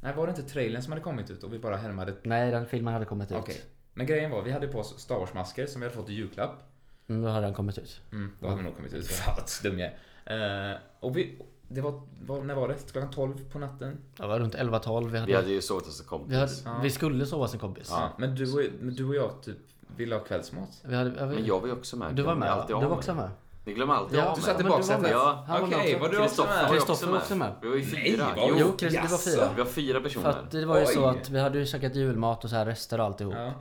[SPEAKER 3] Nej, var det inte trailern som hade kommit ut och vi bara härmade? Okej.
[SPEAKER 2] Nej den filmen hade kommit ut.
[SPEAKER 3] Men grejen var, vi hade på oss Star Wars-masker som vi hade fått i julklapp.
[SPEAKER 2] Mm, då hade den kommit ut.
[SPEAKER 3] Mm, då hade vi nog kommit ut. *laughs* Fan vad dum jag är. Eh, och vi, det var, var, när var det? Klockan 12 på natten?
[SPEAKER 2] Det var runt 11-12. Vi,
[SPEAKER 1] Vi
[SPEAKER 2] hade,
[SPEAKER 1] hade ju sovit hos en
[SPEAKER 2] vi, hade,
[SPEAKER 1] kompis.
[SPEAKER 2] vi skulle sova hos en kompis.
[SPEAKER 3] Ja. Men, du och, men du och jag typ ville ha kvällsmat.
[SPEAKER 2] Vi hade, ja, vi,
[SPEAKER 1] Men jag var ju också med.
[SPEAKER 2] Mm. Du var
[SPEAKER 1] Ni är
[SPEAKER 2] med va?
[SPEAKER 1] alltid
[SPEAKER 2] Du
[SPEAKER 1] av
[SPEAKER 2] var
[SPEAKER 1] med.
[SPEAKER 2] också med?
[SPEAKER 1] Ni glömmer alltid
[SPEAKER 2] Ja,
[SPEAKER 1] av
[SPEAKER 2] du
[SPEAKER 1] mig.
[SPEAKER 2] satt i
[SPEAKER 3] Men du var
[SPEAKER 2] baksätet.
[SPEAKER 3] med.
[SPEAKER 1] Ja.
[SPEAKER 2] Han var med
[SPEAKER 3] Okej,
[SPEAKER 2] också.
[SPEAKER 3] var du också
[SPEAKER 1] Kristoffer
[SPEAKER 3] med?
[SPEAKER 1] var ju också
[SPEAKER 2] Kristoffer var också
[SPEAKER 1] med.
[SPEAKER 2] med.
[SPEAKER 1] Vi var ju fyra.
[SPEAKER 3] Nej, var
[SPEAKER 1] Jo,
[SPEAKER 3] vi-
[SPEAKER 2] Jo, Chris, det var
[SPEAKER 3] Jaså?
[SPEAKER 2] fyra.
[SPEAKER 1] vi var fyra
[SPEAKER 2] För att
[SPEAKER 1] personer.
[SPEAKER 2] det var ju så
[SPEAKER 3] Oj.
[SPEAKER 2] att vi hade ju käkat julmat och så här rester och alltihop.
[SPEAKER 3] Ja.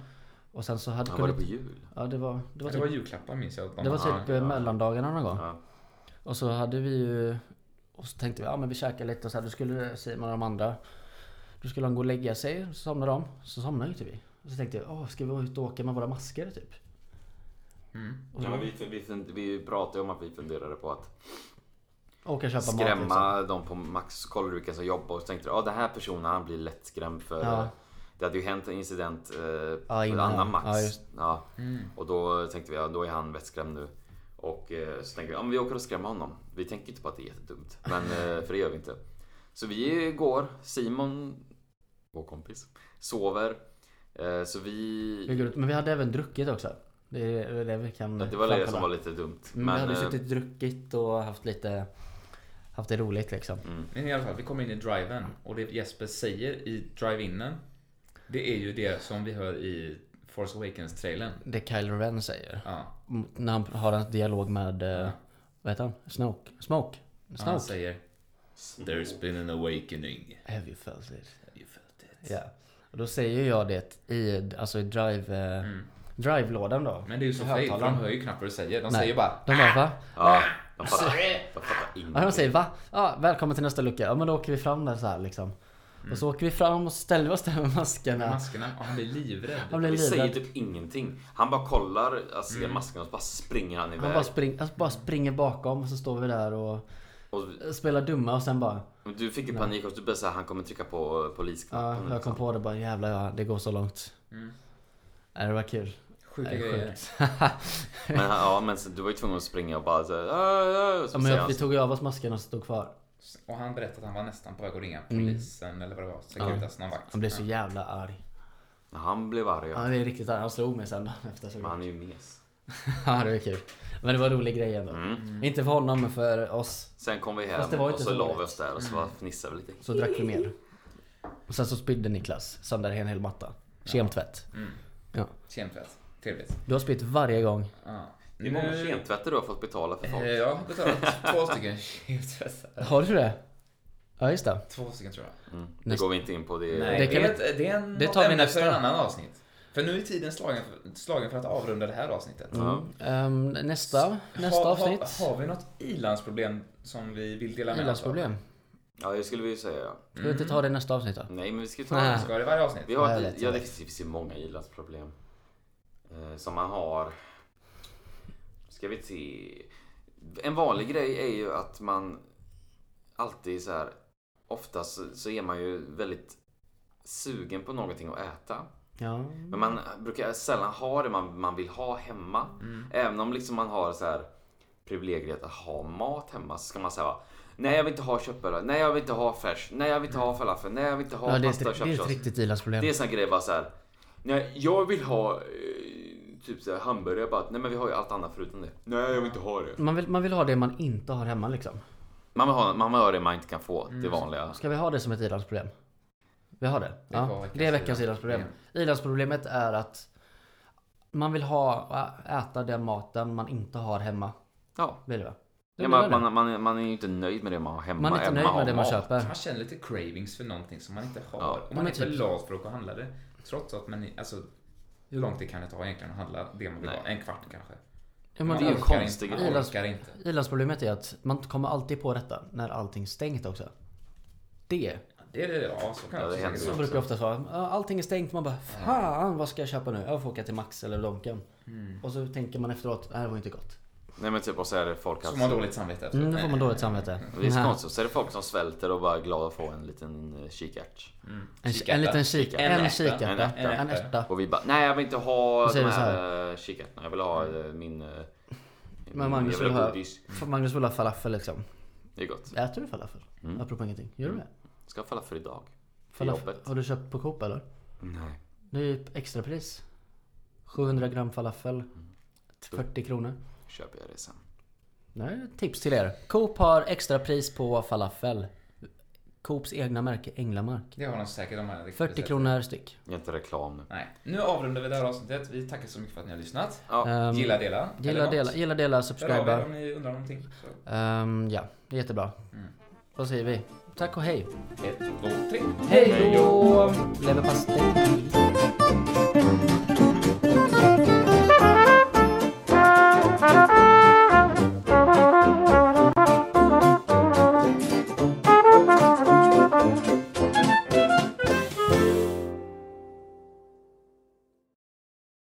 [SPEAKER 2] Och sen så hade
[SPEAKER 1] Han var det
[SPEAKER 2] kunnat...
[SPEAKER 1] på jul.
[SPEAKER 2] Ja det var, det var
[SPEAKER 3] Det
[SPEAKER 2] typ,
[SPEAKER 3] var julklappar minns jag. att de
[SPEAKER 2] det var
[SPEAKER 3] hade.
[SPEAKER 2] typ eh, mellandagarna någon gång.
[SPEAKER 1] Ja.
[SPEAKER 2] Och så hade vi ju... Och så tänkte vi, ja men vi käkar lite och så här, då skulle Simon och de andra... Då skulle de gå och lägga sig, så somnade de. Så somnade inte vi. Och så tänkte jag, åh ska vi vara ute och åka med våra masker typ?
[SPEAKER 1] Ja, men vi, vi, vi, vi pratade ju om att vi funderade på att
[SPEAKER 2] Åka och köpa mat liksom.
[SPEAKER 1] skrämma dem på max så kollade du vilka som jobbar och så tänkte du att den här personen han blir lättskrämd för
[SPEAKER 2] Ja.
[SPEAKER 1] eh, det hade ju hänt en incident eh, på
[SPEAKER 2] Ja,
[SPEAKER 1] en
[SPEAKER 2] innan.
[SPEAKER 1] annan max.
[SPEAKER 2] Ja,
[SPEAKER 1] Ja,
[SPEAKER 2] just-
[SPEAKER 1] Och då tänkte vi ja, då är han vettskrämd nu. Och eh, så tänkte vi ja, men vi åker och skrämmer honom. Vi tänker inte på att det är jättedumt. Men, eh, för det gör vi inte. Så vi går, Simon, vår kompis, sover. Eh, så
[SPEAKER 2] Vi
[SPEAKER 1] vi...
[SPEAKER 2] går ut. Men vi hade även druckit också. Det är det vi kan...
[SPEAKER 1] Det var det
[SPEAKER 2] framkalla.
[SPEAKER 1] som var lite dumt.
[SPEAKER 2] Mm, vi
[SPEAKER 1] Men,
[SPEAKER 2] hade
[SPEAKER 1] eh,
[SPEAKER 2] suttit druckit och haft lite Haft det roligt liksom.
[SPEAKER 1] Mm.
[SPEAKER 3] Men i alla fall, vi kommer in i driven och det Jesper säger i drive-inen Det är ju det som vi hör i Force Awakens-trailern.
[SPEAKER 2] Det Kylo Ren säger.
[SPEAKER 3] Ja,
[SPEAKER 2] Mm, När han har en dialog med eh, Vad heter han? Snoke? Smoke?
[SPEAKER 3] han
[SPEAKER 2] Snoke?
[SPEAKER 3] säger There's been an awakening.
[SPEAKER 2] Have you felt it?
[SPEAKER 3] Have you felt it?
[SPEAKER 2] Ja. Och då säger jag det i, alltså i drive, eh,
[SPEAKER 3] Mm.
[SPEAKER 2] drive-lådan då.
[SPEAKER 3] Men det är ju så fel, för de hör ju knappt vad du säger. De
[SPEAKER 2] Nej.
[SPEAKER 3] säger bara
[SPEAKER 2] De bara va?
[SPEAKER 1] Ja, de fattar, de fattar ingenting.
[SPEAKER 2] Ja, de säger va? Ja, välkommen till nästa lucka. Ja men då åker vi fram där så här liksom. Och
[SPEAKER 1] Mm.
[SPEAKER 2] så åker vi fram och ställer oss där med maskerna.
[SPEAKER 3] maskerna och han blir
[SPEAKER 2] Han
[SPEAKER 3] livrädd.
[SPEAKER 2] blir
[SPEAKER 1] Vi säger
[SPEAKER 2] livrädd.
[SPEAKER 1] typ ingenting. Han bara kollar, alltså, ser masken och så bara springer han iväg.
[SPEAKER 2] Han bara, spring, han bara springer bakom och så står vi där och
[SPEAKER 1] Och
[SPEAKER 2] spelar dumma och sen bara
[SPEAKER 1] du fick ju panik och du började säga han kommer trycka på eh,
[SPEAKER 2] Ja,
[SPEAKER 1] polisknappen.
[SPEAKER 2] jag kom på det bara jävlar ja, det går så långt. Nej, det var kul.
[SPEAKER 3] Sjuka
[SPEAKER 2] Nej,
[SPEAKER 3] grejer.
[SPEAKER 2] sjukt. *laughs*
[SPEAKER 1] men, han- ja, men så, du var ju tvungen att springa och bara så, här, "Ah, ah", och så
[SPEAKER 2] ja, men
[SPEAKER 1] säger
[SPEAKER 2] jag,
[SPEAKER 1] han
[SPEAKER 2] vi
[SPEAKER 1] så-
[SPEAKER 2] tog ju av oss maskerna och stod kvar.
[SPEAKER 3] Och han berättade att han var nästan på väg att ringa polisen eller vad det var. Securitas, någon vakt.
[SPEAKER 2] Mm. Han blev så jävla arg.
[SPEAKER 1] Han blev arg.
[SPEAKER 2] Ja, det är riktigt arg. Han slog mig sen dagen efter. Så
[SPEAKER 1] Men han är ju mes.
[SPEAKER 2] *laughs* ja, det var kul. Men det var en rolig grej ändå. Inte för honom men för oss.
[SPEAKER 1] Sen kom vi
[SPEAKER 2] Fast det
[SPEAKER 1] hem och
[SPEAKER 2] var inte
[SPEAKER 1] så
[SPEAKER 2] så Mm.
[SPEAKER 1] la
[SPEAKER 2] roligt.
[SPEAKER 1] vi oss där och så bara fnissade vi lite.
[SPEAKER 2] Så drack vi mer. Och sen så spydde Niklas sönder en hel matta. Kemtvätt. Ja.
[SPEAKER 3] Kemtvätt. Trevligt.
[SPEAKER 2] Du har spytt varje gång.
[SPEAKER 3] Ja.
[SPEAKER 1] Hur många kemtvätter du har fått betala för
[SPEAKER 3] Eh,
[SPEAKER 1] folk?
[SPEAKER 3] Jag har betalat två stycken kemtvättar.
[SPEAKER 2] Har du det? Ja just det.
[SPEAKER 3] Två stycken tror jag.
[SPEAKER 1] Mm. Det går vi inte in på. Det
[SPEAKER 3] Nej,
[SPEAKER 2] Det
[SPEAKER 3] det,
[SPEAKER 2] kan
[SPEAKER 3] är ett, det är en,
[SPEAKER 2] det
[SPEAKER 3] något
[SPEAKER 2] tar vi
[SPEAKER 3] ämne
[SPEAKER 2] nästa.
[SPEAKER 3] för en annan avsnitt. För nu är tiden slagen för, slagen för att avrunda det här avsnittet.
[SPEAKER 2] Ehm, nästa, nästa
[SPEAKER 3] ha,
[SPEAKER 2] avsnitt.
[SPEAKER 3] Ha, har vi något i-landsproblem som vi vill dela med oss av?
[SPEAKER 2] Ilandsproblem.
[SPEAKER 1] Ja, det skulle vi ju säga. ja.
[SPEAKER 2] Ska vi inte ta det i nästa avsnitt då?
[SPEAKER 1] Nej, men vi ska ju ta
[SPEAKER 2] Nej.
[SPEAKER 3] Ska det i varje avsnitt?
[SPEAKER 1] Vi har
[SPEAKER 2] Ja, jag
[SPEAKER 1] ett,
[SPEAKER 2] vet,
[SPEAKER 1] ja,
[SPEAKER 2] jag
[SPEAKER 1] det
[SPEAKER 2] vet.
[SPEAKER 1] finns ju många i-landsproblem. Eh, som man har. Ska vi se. En vanlig grej är ju att man alltid så här. Oftast så- så är man ju väldigt sugen på någonting att äta.
[SPEAKER 2] Ja.
[SPEAKER 1] Men man brukar sällan ha det man, man vill ha hemma.
[SPEAKER 2] Mm.
[SPEAKER 1] Även om liksom man har så här privilegiet att ha mat hemma så ska man säga Nej jag vill inte ha köttbullar, nej jag vill inte ha färs, nej jag vill inte ha falafel, nej jag vill inte ha
[SPEAKER 2] Ja, det, är
[SPEAKER 1] pasta och
[SPEAKER 2] ett, det är ett
[SPEAKER 1] köttfärssås.
[SPEAKER 2] riktigt ilandsproblem.
[SPEAKER 1] Det är en sån grej bara så här. Nej, jag vill ha eh, typ så här hamburgare. Jag Bara, nej men vi har ju allt annat förutom det. Nej, jag vill inte ha det.
[SPEAKER 2] Man vill, man vill ha det man inte har hemma liksom.
[SPEAKER 1] Man vill ha, man vill ha det man inte kan få. Det vanliga.
[SPEAKER 2] Ska vi ha det som ett ilandsproblem? Vi har det.
[SPEAKER 3] Det var
[SPEAKER 2] Ja,
[SPEAKER 3] veckans
[SPEAKER 2] det är veckans ilandsproblem. Ilandsproblemet är att man vill ha äta den maten man inte har hemma.
[SPEAKER 1] Ja.
[SPEAKER 2] Blir det va? Det
[SPEAKER 1] ja
[SPEAKER 2] blir
[SPEAKER 1] man,
[SPEAKER 2] väl det.
[SPEAKER 1] man, man, man är ju inte nöjd med det man har hemma.
[SPEAKER 2] man är inte
[SPEAKER 1] även om
[SPEAKER 2] nöjd med
[SPEAKER 1] har
[SPEAKER 2] det man
[SPEAKER 1] mat.
[SPEAKER 2] köper.
[SPEAKER 3] Man känner lite cravings för någonting som man inte har.
[SPEAKER 1] Ja.
[SPEAKER 3] Och man
[SPEAKER 2] Men
[SPEAKER 3] är för
[SPEAKER 2] typ-
[SPEAKER 3] lat för att gå och handla det. Trots att man, är- alltså, hur långt det kan det ta egentligen att handla det man vill
[SPEAKER 1] Nej.
[SPEAKER 3] ha? En kvart kanske?
[SPEAKER 2] Ja, men
[SPEAKER 1] det är ju
[SPEAKER 3] orkar
[SPEAKER 1] konstig
[SPEAKER 3] inte,
[SPEAKER 1] grej.
[SPEAKER 3] Man orkar inte.
[SPEAKER 2] Ilandsproblemet är att man kommer alltid på detta när allting är stängt också. Det.
[SPEAKER 3] Det är det, ja så kan
[SPEAKER 1] Ja,
[SPEAKER 3] det
[SPEAKER 1] det
[SPEAKER 3] säkert
[SPEAKER 1] händer
[SPEAKER 2] Så
[SPEAKER 3] vara.
[SPEAKER 2] brukar jag ofta vara. Ja, Allting är stängt. Man bara Fan vad ska jag köpa nu? Jag får åka till Max eller Donken.
[SPEAKER 1] Mm.
[SPEAKER 2] Och så tänker man efteråt. Det här var inte gott.
[SPEAKER 1] Nej men typ och så är det folk
[SPEAKER 3] Så
[SPEAKER 1] alltså,
[SPEAKER 3] man har dåligt samvete efteråt.
[SPEAKER 2] Mm, då får man dåligt samvete.
[SPEAKER 1] det är så
[SPEAKER 2] Nej.
[SPEAKER 1] konstigt. Så är det folk som svälter och bara är glada att få en liten eh, kikärt.
[SPEAKER 2] En,
[SPEAKER 3] Mm. Kikärta.
[SPEAKER 2] en liten kikärta.
[SPEAKER 3] En ärta.
[SPEAKER 2] En kikärta.
[SPEAKER 1] En ärta.
[SPEAKER 2] En ärta.
[SPEAKER 1] Och vi bara, nej jag vill inte ha
[SPEAKER 2] Då
[SPEAKER 1] de
[SPEAKER 2] säger
[SPEAKER 1] här,
[SPEAKER 2] du så
[SPEAKER 1] eh, kikärtorna. Jag vill ha eh, min... eh,
[SPEAKER 2] Men
[SPEAKER 1] min
[SPEAKER 2] Magnus
[SPEAKER 1] jag vill
[SPEAKER 2] vill
[SPEAKER 1] ha
[SPEAKER 2] ha-
[SPEAKER 1] godis.
[SPEAKER 2] För Magnus vill ha falafel liksom.
[SPEAKER 1] Det är gott.
[SPEAKER 2] Äter du falafel?
[SPEAKER 1] Mm.
[SPEAKER 2] Apropå ingenting. Gör du det?
[SPEAKER 1] Ska ha falafel idag. För
[SPEAKER 2] Falafel.
[SPEAKER 1] jobbet.
[SPEAKER 2] Har du köpt på Coop eller?
[SPEAKER 1] Nej.
[SPEAKER 2] Det är ju extrapris. 700 gram falafel.
[SPEAKER 1] Mm.
[SPEAKER 2] 40 kronor.
[SPEAKER 1] Köper jag det sen.
[SPEAKER 2] Det här är ett tips till er. Coop har extrapris på falafel. Coops egna märke Änglamark.
[SPEAKER 3] Det har de säkert de här.
[SPEAKER 2] 40 kronor styck.
[SPEAKER 1] Jag är inte reklam nu.
[SPEAKER 3] Nej, nu avrundar vi det här avsnittet. Vi tackar så mycket för att ni har lyssnat.
[SPEAKER 1] Ja,
[SPEAKER 2] Ehm,
[SPEAKER 3] Gilla, dela.
[SPEAKER 2] Gilla, dela, gilla, dela, subscriba.
[SPEAKER 3] Subscribe. Om ni undrar någonting. Så.
[SPEAKER 2] Ehm, ja, det är jättebra. Vad säger vi? Tack och hej.
[SPEAKER 3] Ett, två, tre.
[SPEAKER 2] Hej då! Leverpastej.